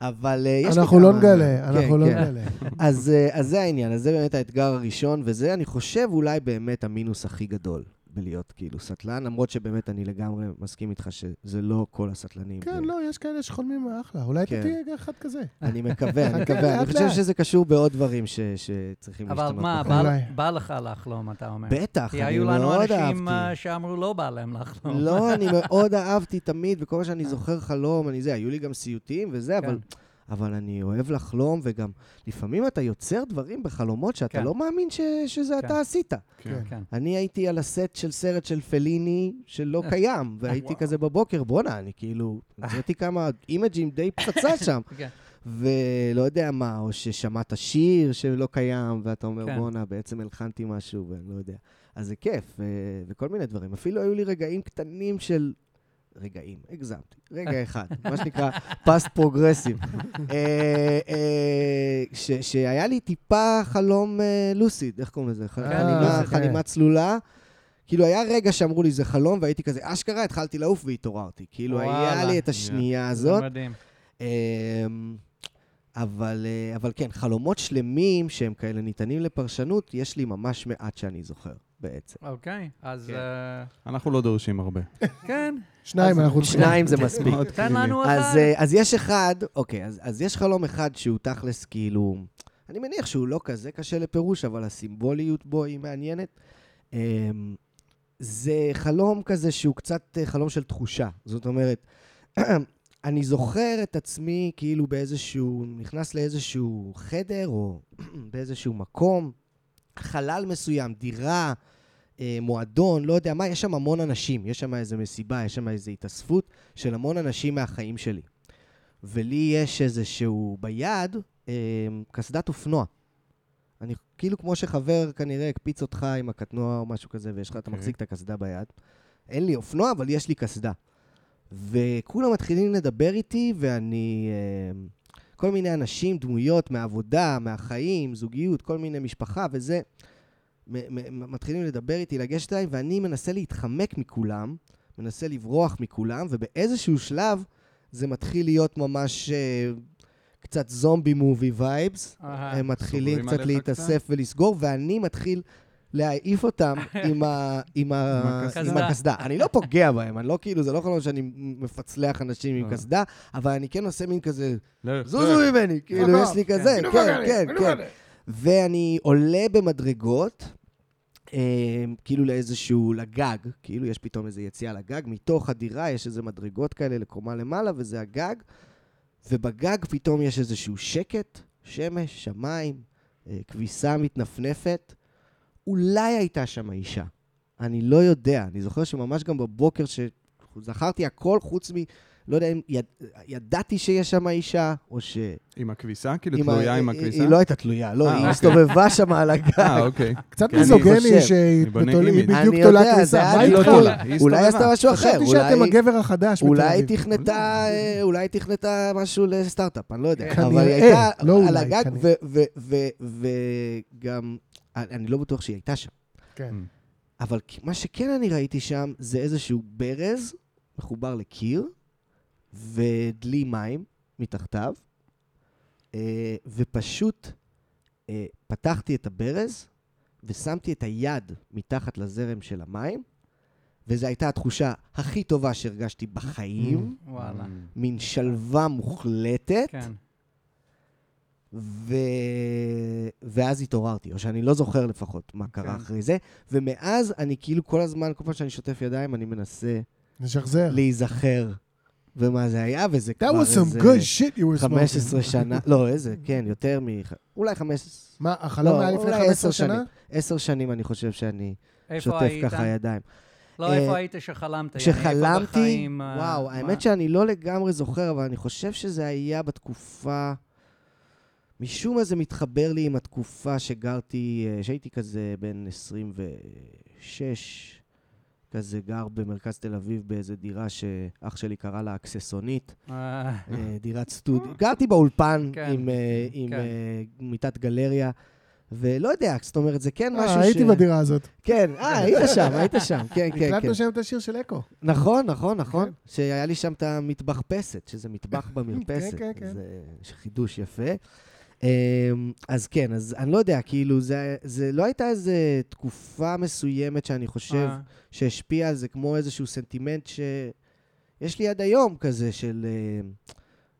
Speaker 6: אבל אה, יש לי כמה...
Speaker 1: אנחנו לא נגלה,
Speaker 6: כן,
Speaker 1: אנחנו לא
Speaker 6: כן.
Speaker 1: נגלה.
Speaker 6: אז, אה, אז זה העניין, אז זה באמת האתגר הראשון, וזה, אני חושב, אולי באמת המינוס הכי גדול בלהיות כאילו סטלן, למרות שבאמת אני לגמרי מסכים איתך שזה לא כל הסטלנים.
Speaker 1: כן,
Speaker 6: ו-
Speaker 1: לא, יש כאלה שחולמים אחלה. אולי אתה
Speaker 6: כן.
Speaker 1: תהיה אחד כזה.
Speaker 6: אני מקווה,
Speaker 1: [laughs]
Speaker 6: אני
Speaker 1: חכה,
Speaker 6: מקווה. אני
Speaker 1: אוקיי, לאט,
Speaker 6: חושב
Speaker 1: לאט.
Speaker 6: שזה קשור בעוד דברים ש- שצריכים
Speaker 2: אבל
Speaker 6: להשתנות.
Speaker 2: מה,
Speaker 6: בחיים.
Speaker 2: בא-
Speaker 1: אולי.
Speaker 2: בא לך לחלום, אתה אומר.
Speaker 6: בטח,
Speaker 2: כי
Speaker 6: אני
Speaker 2: היו לנו
Speaker 6: מאוד
Speaker 2: אנשים
Speaker 6: אהבתי.
Speaker 2: אה, שאמרו לא בא להם לחלום. [laughs]
Speaker 6: לא, אני מאוד אהבתי תמיד, וכל מה שאני
Speaker 2: אה.
Speaker 6: זוכר חלום, אני זה, היו לי גם סיוטים וזה, אבל...
Speaker 2: כן.
Speaker 6: אבל אני אוהב לחלום, וגם לפעמים אתה יוצר דברים בחלומות שאתה
Speaker 2: כן.
Speaker 6: לא מאמין ש... שזה
Speaker 2: כן.
Speaker 6: אתה עשית.
Speaker 3: כן.
Speaker 2: כן. אה.
Speaker 6: אני הייתי על הסט של סרט של פליני שלא קיים, והייתי כזה בבוקר, בואנה, אני כאילו, הוצאתי כמה אימג'ים די פצצה
Speaker 2: [laughs]
Speaker 6: שם,
Speaker 2: כן.
Speaker 6: ולא יודע מה, או ששמעת שיר שלא קיים, ואתה אומר,
Speaker 2: כן.
Speaker 6: בואנה, בעצם הלחנתי משהו, ואני לא יודע. אז זה כיף, ו- וכל מיני דברים. אפילו היו לי רגעים קטנים של... רגעים, הגזמתי, רגע אחד, מה שנקרא פסט פרוגרסיב. אה, שהיה לי טיפה חלום אה, לוסיד, איך קוראים לזה? ח-
Speaker 1: כן,
Speaker 6: חלימה-
Speaker 1: לוסיד,
Speaker 6: חלימה
Speaker 1: כן.
Speaker 6: צלולה. כאילו, היה רגע שאמרו לי, זה חלום, והייתי כזה, אשכרה, התחלתי לעוף והתעוררתי. כאילו, היה
Speaker 2: וואלה.
Speaker 6: לי את השנייה
Speaker 2: זה
Speaker 6: הזאת.
Speaker 2: מדהים.
Speaker 6: אמ, אבל, אה, אבל כן, חלומות שלמים שהם כאלה ניתנים לפרשנות, יש לי ממש מעט שאני זוכר בעצם.
Speaker 2: אוקיי, אז...
Speaker 6: כן.
Speaker 2: אה,
Speaker 3: אנחנו לא דורשים הרבה.
Speaker 2: כן,
Speaker 1: שניים, אנחנו צריכים.
Speaker 6: שניים זה מספיק.
Speaker 3: מאוד
Speaker 2: תן
Speaker 3: קליני.
Speaker 2: לנו אחד.
Speaker 6: אז, אה, אז יש אחד, אוקיי, אז, אז יש חלום אחד שהוא תכלס כאילו, אני מניח שהוא לא כזה קשה לפירוש, אבל הסימבוליות בו היא מעניינת. אמ, זה חלום כזה שהוא קצת אה, חלום של תחושה. זאת אומרת, [clears throat] אני זוכר את עצמי כאילו באיזשהו, נכנס לאיזשהו חדר או [clears throat] באיזשהו מקום, חלל מסוים, דירה, אה, מועדון, לא יודע מה, יש שם המון אנשים, יש שם איזו מסיבה, יש שם איזו התאספות. של המון אנשים מהחיים שלי. ולי יש איזשהו ביד אה, קסדת אופנוע. אני כאילו כמו שחבר כנראה הקפיץ אותך עם הקטנוע או משהו כזה, ויש לך, אתה
Speaker 3: אוקיי.
Speaker 6: מחזיק את הקסדה ביד. אין לי אופנוע, אבל יש לי קסדה. וכולם מתחילים לדבר איתי, ואני... אה, כל מיני אנשים, דמויות מהעבודה, מהחיים, זוגיות, כל מיני משפחה וזה, מ- מ- מ- מתחילים לדבר איתי, לגשת אליי, ואני מנסה להתחמק מכולם, מנסה לברוח מכולם, ובאיזשהו שלב זה מתחיל להיות ממש אה, קצת זומבי מובי וייבס.
Speaker 2: אהה.
Speaker 6: הם מתחילים
Speaker 3: סוגרים
Speaker 6: קצת
Speaker 3: עליך
Speaker 6: להתאסף ולסגור, ואני מתחיל להעיף אותם עם ה- עם ה- עם
Speaker 2: הקסדה.
Speaker 6: הקסדה. אני לא פוגע בהם, אני לא כאילו, זה לא חלום שאני מפצלח אנשים עם קסדה, אבל אני כן עושה מין כזה,
Speaker 3: אה.
Speaker 6: זוזו ממני, כאילו, יש לי כזה, כן, כן, כן. ואני עולה במדרגות, אה, כאילו לאיזשהו, לגג, כאילו יש פתאום איזו יציאה לגג, מתוך הדירה יש איזה מדרגות כאלה לקומה למעלה, וזה הגג, ובגג פתאום יש איזשהו שקט, שמש, שמיים, אה, כביסה מתנפנפת. אולי הייתה שם אישה, אני לא יודע. אני זוכר שממש גם בבוקר, שזכרתי הכל חוץ מ... לא יודע אם יד... ידעתי שיש שם אישה, או ש...
Speaker 3: עם הכביסה? כאילו
Speaker 6: עם ה-
Speaker 3: תלויה עם
Speaker 6: היא-
Speaker 3: הכביסה?
Speaker 6: היא לא הייתה תלויה, לא,
Speaker 3: אה,
Speaker 6: היא
Speaker 3: אוקיי.
Speaker 6: הסתובבה שם על הגג.
Speaker 3: אה, אוקיי.
Speaker 1: קצת
Speaker 3: אני
Speaker 6: חושב.
Speaker 1: מיזוגני שהיא
Speaker 3: אני בונה
Speaker 1: בתול- היא
Speaker 3: אימיג'.
Speaker 1: בדיוק
Speaker 6: אני
Speaker 1: תולה
Speaker 6: יודע,
Speaker 1: כניסה.
Speaker 6: זה
Speaker 1: מה
Speaker 6: היה
Speaker 3: היא
Speaker 1: איתך?
Speaker 3: לא
Speaker 6: נראה לי-
Speaker 3: תולה, היא
Speaker 6: אולי
Speaker 3: הסתובבה.
Speaker 6: עשתה משהו אחר,
Speaker 1: חשבתי שאתם
Speaker 6: אולי...
Speaker 1: הגבר החדש בתל
Speaker 6: אולי
Speaker 1: אביב.
Speaker 6: תכנתה, אה, אולי תכנתה משהו לסטארט-אפ, אני לא יודע.
Speaker 1: כנראה,
Speaker 6: אבל היא הייתה
Speaker 1: לא
Speaker 6: על
Speaker 1: אולי,
Speaker 6: הגג,
Speaker 1: כנראה.
Speaker 6: ו- ו- ו- וגם, אני אני לא בטוח שהיא הייתה שם.
Speaker 1: כן.
Speaker 6: אבל כ- מה שכן אני ראיתי שם זה איזשהו ברז מחובר לקיר ודלי מים מתחתיו, אה, ופשוט אה, פתחתי את הברז ושמתי את היד מתחת לזרם של המים, וזו הייתה התחושה הכי טובה שהרגשתי בחיים,
Speaker 1: Mm.
Speaker 2: וואלה.
Speaker 3: Mm,
Speaker 6: מין שלווה מוחלטת,
Speaker 2: כן.
Speaker 6: ו... ואז התעוררתי, או שאני לא זוכר לפחות מה קרה
Speaker 2: כן.
Speaker 6: אחרי זה, ומאז אני כאילו כל הזמן, כל פעם שאני שוטף ידיים, אני מנסה
Speaker 1: נשחזר.
Speaker 6: להיזכר במה זה היה, וזה
Speaker 1: כן. That
Speaker 6: כבר
Speaker 1: was some good shit you were smoking.
Speaker 6: 15 שנה, לא, איזה, כן, יותר מ... אולי 15,
Speaker 1: מה, החלום
Speaker 6: לא,
Speaker 1: היה לפני
Speaker 6: אולי
Speaker 1: 15
Speaker 6: עשר
Speaker 1: שנה?
Speaker 6: שנים. 10 שנים אני חושב שאני
Speaker 2: איפה
Speaker 6: שוטף
Speaker 2: היית?
Speaker 6: ככה ידיים.
Speaker 2: לא,
Speaker 6: אה,
Speaker 2: איפה היית שחלמת? יעני? איפה
Speaker 6: כשחלמתי,
Speaker 2: בחיים, אה,
Speaker 6: וואו,
Speaker 2: מה?
Speaker 6: האמת שאני לא לגמרי זוכר, אבל אני חושב שזה היה בתקופה... משום מה זה מתחבר לי עם התקופה שגרתי, אה, שהייתי כזה בן 26, כזה גר במרכז תל אביב באיזה דירה שאח שלי קרא לה אקססונית,
Speaker 2: אה,
Speaker 6: אה, דירת סטודיו. גרתי באולפן
Speaker 2: כן,
Speaker 6: עם, אה, עם
Speaker 2: כן.
Speaker 6: אה, מיטת גלריה, ולא יודע, זאת אומרת, זה כן משהו ש...
Speaker 1: אה, הייתי בדירה הזאת.
Speaker 6: כן, אה, היית שם, היית
Speaker 1: [laughs]
Speaker 6: שם, כן, כן, כן.
Speaker 1: הקלטנו שם את השיר של אקו.
Speaker 6: נכון, נכון, נכון. שהיה לי שם את המטבחפסת, שזה מטבח במרפסת.
Speaker 1: [laughs] כן, כן.
Speaker 6: זה חידוש יפה. אמ, אז כן, אז אני לא יודע, כאילו, זה, זה לא הייתה איזו תקופה מסוימת שאני חושב
Speaker 2: אה,
Speaker 6: שהשפיעה על זה, כמו איזשהו סנטימנט שיש לי עד היום כזה, של אמ,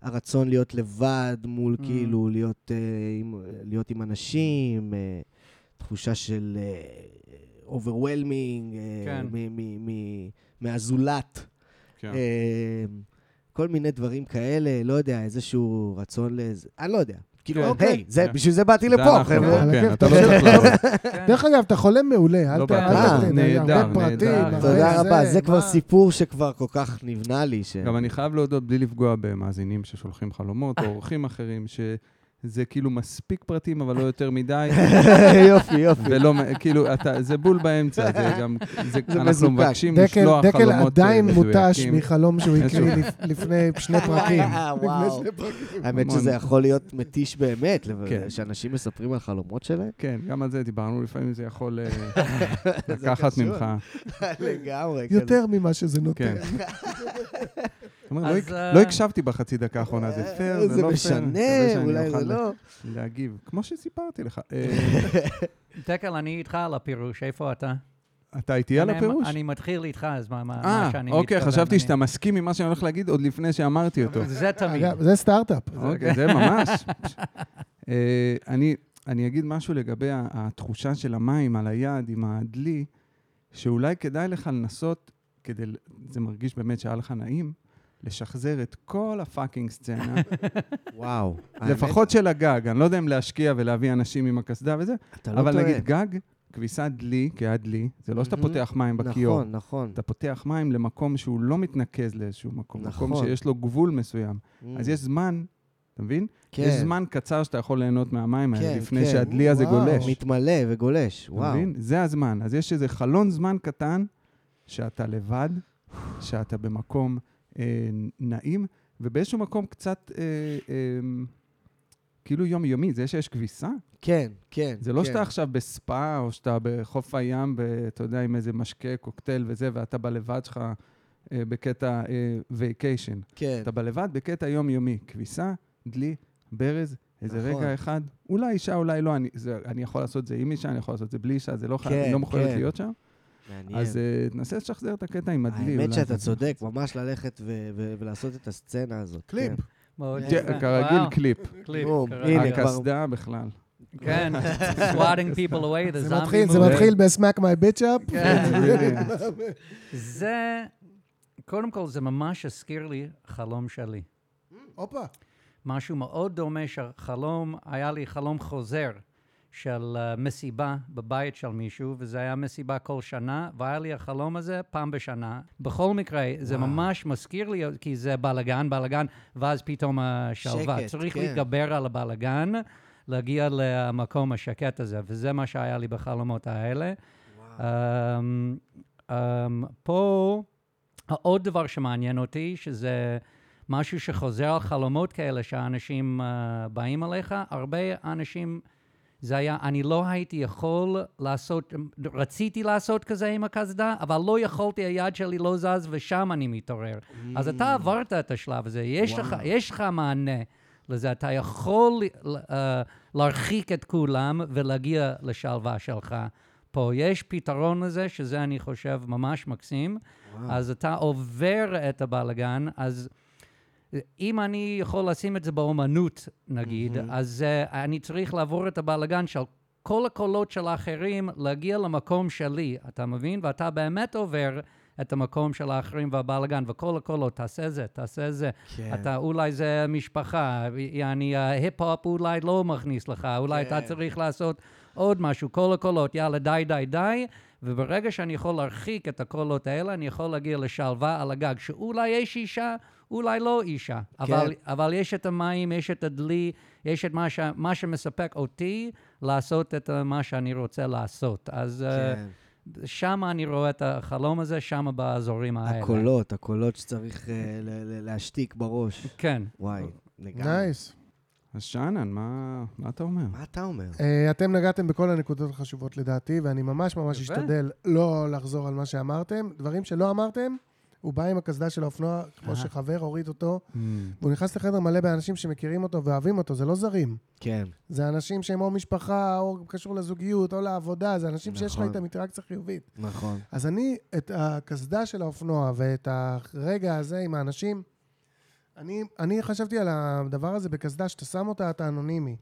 Speaker 6: הרצון להיות לבד מול,
Speaker 2: Mm.
Speaker 6: כאילו, להיות, אה, עם, להיות עם אנשים, אה, תחושה של אה, אוברוולמינג,
Speaker 2: כן.
Speaker 6: מהזולת.
Speaker 3: כן.
Speaker 6: אה, כל מיני דברים כאלה, לא יודע, איזשהו רצון לאיזה... אני לא יודע. כאילו,
Speaker 3: כן.
Speaker 6: היי, זה-
Speaker 3: כן.
Speaker 6: בשביל זה באתי
Speaker 3: זה
Speaker 6: לפה,
Speaker 3: אנחנו,
Speaker 6: חבר'ה.
Speaker 1: על
Speaker 3: כן,
Speaker 1: הכיף,
Speaker 3: אתה לא
Speaker 1: אתה
Speaker 3: צריך
Speaker 1: יודע.
Speaker 3: לעבוד.
Speaker 2: כן.
Speaker 1: דרך אגב, אתה חולם מעולה, אל
Speaker 3: לא
Speaker 1: ת- אל
Speaker 6: בעיה.
Speaker 1: תתן,
Speaker 3: נהדר,
Speaker 1: הרבה פרטים,
Speaker 3: נהדר.
Speaker 1: הרבה
Speaker 6: תודה רבה, זה כבר
Speaker 1: מה?
Speaker 6: סיפור שכבר כל כך נבנה לי, ש...
Speaker 3: גם אני חייב להודות, בלי לפגוע במאזינים ששולחים חלומות, או אורחים אחרים, שזה כאילו מספיק פרטים, אבל לא יותר מדי,
Speaker 6: [laughs] יופי, יופי.
Speaker 3: ולא, מ- כאילו, אתה- זה בול באמצע, זה גם, זה-
Speaker 6: מזוקק.
Speaker 3: אנחנו מבקשים
Speaker 1: דקל,
Speaker 3: לשלוח חלומות
Speaker 1: דקל
Speaker 3: אה,
Speaker 1: עדיין מותש
Speaker 3: מדויקים.
Speaker 1: מחלום שהוא הקריא
Speaker 3: איזשהו-
Speaker 1: לפ- לפני שני פרקים.
Speaker 6: אה, וואו.
Speaker 1: לפני שני פרקים.
Speaker 6: האמת
Speaker 3: המון.
Speaker 6: שזה יכול להיות מתיש באמת, לב-
Speaker 3: כן.
Speaker 6: שאנשים מספרים על חלומות שלהם.
Speaker 3: כן, גם על זה דיברנו, לפעמים זה יכול אה, לקחת
Speaker 6: קשור.
Speaker 3: [laughs] ממך.
Speaker 6: לגמרי. כזה.
Speaker 1: יותר ממה שזה נותן. [laughs]
Speaker 3: כן. אתה אומר,
Speaker 2: אז,
Speaker 3: לא הק-
Speaker 2: אה,
Speaker 3: לא הקשבתי בחצי דקה האחרונה, זה פייר, זה
Speaker 6: אה, זה
Speaker 3: לא פייר. מקווה
Speaker 6: משנה,
Speaker 3: שאני
Speaker 6: אולי
Speaker 3: אוכל
Speaker 6: זה לא.
Speaker 3: להגיב, כמו שסיפרתי לך. אה,
Speaker 2: דקל, אני איתך על הפירוש, איפה אתה?
Speaker 3: אתה איתי על
Speaker 2: אני- אמ-
Speaker 3: הפירוש?
Speaker 2: אני מתחיל איתך, אז מה מה- מה
Speaker 3: אה,
Speaker 2: שאני מתכוון.
Speaker 3: אוקיי, חשבתי
Speaker 2: אני-
Speaker 3: שאתה מסכים עם מה שאני הולך להגיד עוד לפני שאמרתי אותו.
Speaker 2: זה תמיד.
Speaker 1: אגב, זה סטארט-אפ.
Speaker 3: אוקיי, זה ממש. אה, אני- אני אגיד משהו לגבי ה- התחושה של המים על היד עם הדלי, שאולי כדאי לך לנסות, כדי, ל- זה מרגיש באמת שהיה לך נעים, לשחזר את כל הפאקינג סצנה,
Speaker 6: [laughs] וואו.
Speaker 3: לפחות של הגג, אני לא יודע אם להשקיע ולהביא אנשים עם הקסדה וזה,
Speaker 6: האמת, אתה לא
Speaker 3: אבל
Speaker 6: טועה.
Speaker 3: נגיד גג, כביסת דלי, כי היה דלי, זה לא שאתה
Speaker 6: מהמם.
Speaker 3: פותח מים בכיור.
Speaker 6: נכון, נכון.
Speaker 3: אתה פותח מים למקום שהוא לא מתנקז לאיזשהו מקום, מקום
Speaker 6: נכון.
Speaker 3: שיש לו גבול מסוים. אז יש זמן, אתה מבין?
Speaker 6: Mm, כן.
Speaker 3: יש זמן קצר שאתה יכול ליהנות מהמים האלה
Speaker 6: כן,
Speaker 3: לפני
Speaker 6: כן.
Speaker 3: שהדלי הזה
Speaker 1: וואו.
Speaker 3: גולש. אתה
Speaker 6: מתמלא וגולש, וואו.
Speaker 3: מבין? זה הזמן. אז יש איזה חלון זמן קטן שאתה לבד, שאתה במקום אה, נעים, ובאיזשהו מקום קצת אה, אה, כאילו יומיומי. זה שיש כביסה,
Speaker 6: כן, כן.
Speaker 3: זה לא
Speaker 6: כן.
Speaker 3: שאתה עכשיו בספא, או שאתה בחוף הים, ואתה יודע, עם איזה משקה, קוקטייל וזה, ואתה בלבד שלך אה, בקטע וייקיישן.
Speaker 6: כן.
Speaker 3: אתה בלבד בקטע יומיומי. כביסה, דלי, ברז, איזה
Speaker 6: נכון.
Speaker 3: רגע אחד, אולי אישה, אולי לא, אני, זה, אני יכול לעשות את זה עם אישה, אני יכול לעשות את זה בלי אישה, זה לא חייב,
Speaker 6: כן,
Speaker 3: היא לא מחויבת
Speaker 6: כן.
Speaker 3: להיות שם.
Speaker 6: מעניין.
Speaker 3: אז אה, תנסה לשחזר את הקטע עם הדלי.
Speaker 6: האמת
Speaker 3: אולי
Speaker 6: שאתה
Speaker 3: זה-
Speaker 6: צודק, ממש ללכת ו- ו- ולעשות את הסצנה הזאת.
Speaker 1: קליפ.
Speaker 6: כן.
Speaker 2: מאוד
Speaker 3: כן,
Speaker 2: יפה. וואו.
Speaker 3: כרגיל לא, קליפ.
Speaker 2: קליפ,
Speaker 6: בום,
Speaker 2: כרגיל.
Speaker 6: הנה, כבר-
Speaker 3: הקסדה בכלל.
Speaker 2: כן, swatting people away, the
Speaker 1: זה
Speaker 2: zombie
Speaker 1: מתחיל, זה
Speaker 2: movie.
Speaker 1: מתחיל ב-smack my bitch up.
Speaker 2: כן.
Speaker 3: אה, בדיוק.
Speaker 2: זה, קודם כל, זה ממש הזכיר לי חלום שלי.
Speaker 1: הופה.
Speaker 2: משהו מאוד דומה שחלום, היה לי חלום חוזר של אה, מסיבה בבית של מישהו, וזה היה מסיבה כל שנה, והיה לי החלום הזה פעם בשנה. בכל מקרה, זה ממש מזכיר לי, כי זה בלאגן, בלאגן, ואז פתאום השלווה.
Speaker 6: שקט,
Speaker 2: צריך
Speaker 6: כן.
Speaker 2: להתגבר על הבלאגן, להגיע למקום השקט הזה, וזה מה שהיה לי בחלומות האלה. Um, um, פה, עוד דבר שמעניין אותי, שזה משהו שחוזר על חלומות כאלה שהאנשים uh, באים אליך, הרבה אנשים, זה היה, אני לא הייתי יכול לעשות, רציתי לעשות כזה עם הקסדה, אבל לא יכולתי, היד שלי לא זז ושם אני מתעורר. Mm. אז אתה עברת את השלב הזה, יש, לך, יש לך מענה לזה, אתה יכול uh, להרחיק את כולם ולהגיע לשלווה שלך. פה יש פתרון לזה, שזה אני חושב ממש מקסים. וואו. אז אתה עובר את הבלגן, אז אם אני יכול לשים את זה באומנות, נגיד, mm-hmm. אז uh, אני צריך לעבור את הבלגן של כל הקולות של האחרים, להגיע למקום שלי, אתה מבין? ואתה באמת עובר את המקום של האחרים והבלגן, וכל הקולות, תעשה זה, תעשה זה.
Speaker 6: כן.
Speaker 2: אתה, אולי זה משפחה, יעני, ההיפ-הופ אולי לא מכניס לך, אולי אתה צריך לעשות עוד משהו, כל הקולות, יאללה, די, די, די. וברגע שאני יכול להרחיק את הקולות האלה, אני יכול להגיע לשלווה על הגג, שאולי יש אישה, אולי לא אישה. אבל, אבל יש את המים, יש את הדלי, יש את מה, ש, מה שמספק אותי לעשות את אה, מה שאני רוצה לעשות. אז כן.
Speaker 6: כן.
Speaker 2: שם אני רואה את החלום הזה, שם באזורים האלה.
Speaker 6: הקולות, הקולות שצריך אה, ל- ל- להשתיק בראש.
Speaker 2: כן.
Speaker 6: וואי, לגמרי.
Speaker 1: נייס.
Speaker 3: אז שאנן, מה מה אתה אומר?
Speaker 6: מה אתה אומר?
Speaker 1: אה, אתם נגעתם בכל הנקודות החשובות לדעתי, ואני ממש ממש
Speaker 2: יפה.
Speaker 1: אשתדל לא לחזור על מה שאמרתם. דברים שלא אמרתם, הוא בא עם הקסדה של האופנוע, כמו שחבר הוריד אותו,
Speaker 3: Hmm.
Speaker 1: והוא נכנס לחדר מלא באנשים שמכירים אותו ואוהבים אותו, זה לא זרים.
Speaker 6: כן.
Speaker 1: זה אנשים שהם או משפחה, או קשור לזוגיות, או לעבודה, זה אנשים שיש לך
Speaker 6: נכון.
Speaker 1: איתם אינטראקציה חיובית.
Speaker 6: נכון.
Speaker 1: אז אני, את הקסדה של האופנוע ואת הרגע הזה עם האנשים, אני, אני חשבתי על הדבר הזה בקסדה, שאתה שם אותה, אתה אנונימי.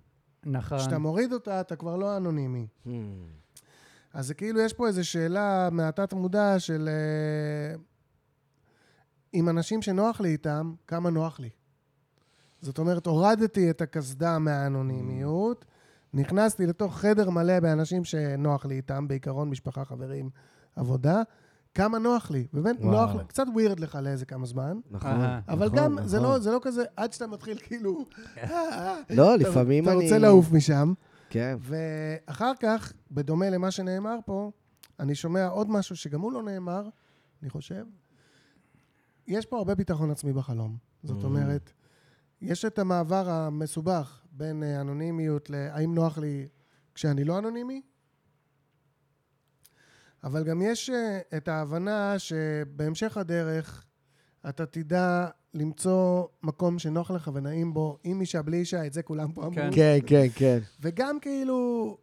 Speaker 2: נכון.
Speaker 1: כשאתה מוריד אותה, אתה כבר לא אנונימי.
Speaker 6: Hmm.
Speaker 1: אז זה כאילו, יש פה איזו שאלה מהתת מודע של... אה, עם אנשים שנוח לי איתם, כמה נוח לי. זאת אומרת, הורדתי את הקסדה מהאנונימיות, נכנסתי לתוך חדר מלא באנשים שנוח לי איתם, בעיקרון משפחה, חברים, עבודה, כמה נוח לי. באמת,
Speaker 6: וואו.
Speaker 1: נוח, לי- קצת ווירד לך לאיזה כמה זמן,
Speaker 6: נכון.
Speaker 2: אהה.
Speaker 1: אבל
Speaker 6: נכון,
Speaker 1: גם, זה,
Speaker 6: נכון.
Speaker 1: לא, זה לא כזה, עד שאתה מתחיל כאילו... "אה, אה",
Speaker 6: לא,
Speaker 1: אתה-
Speaker 6: לפעמים אני...
Speaker 1: אתה רוצה לעוף משם.
Speaker 6: כן.
Speaker 1: ואחר כך, בדומה למה שנאמר פה, אני שומע עוד משהו שגם הוא לא נאמר, אני חושב. יש פה הרבה ביטחון עצמי בחלום. זאת אומרת, יש את המעבר המסובך בין אה, אנונימיות להאם נוח לי כשאני לא אנונימי, אבל גם יש אה, את ההבנה שבהמשך הדרך אתה תדע למצוא מקום שנוח לך ונעים בו, עם אישה, בלי אישה, את זה כולם פה אמרו.
Speaker 2: כן.
Speaker 6: כן, כן, כן.
Speaker 1: וגם כאילו,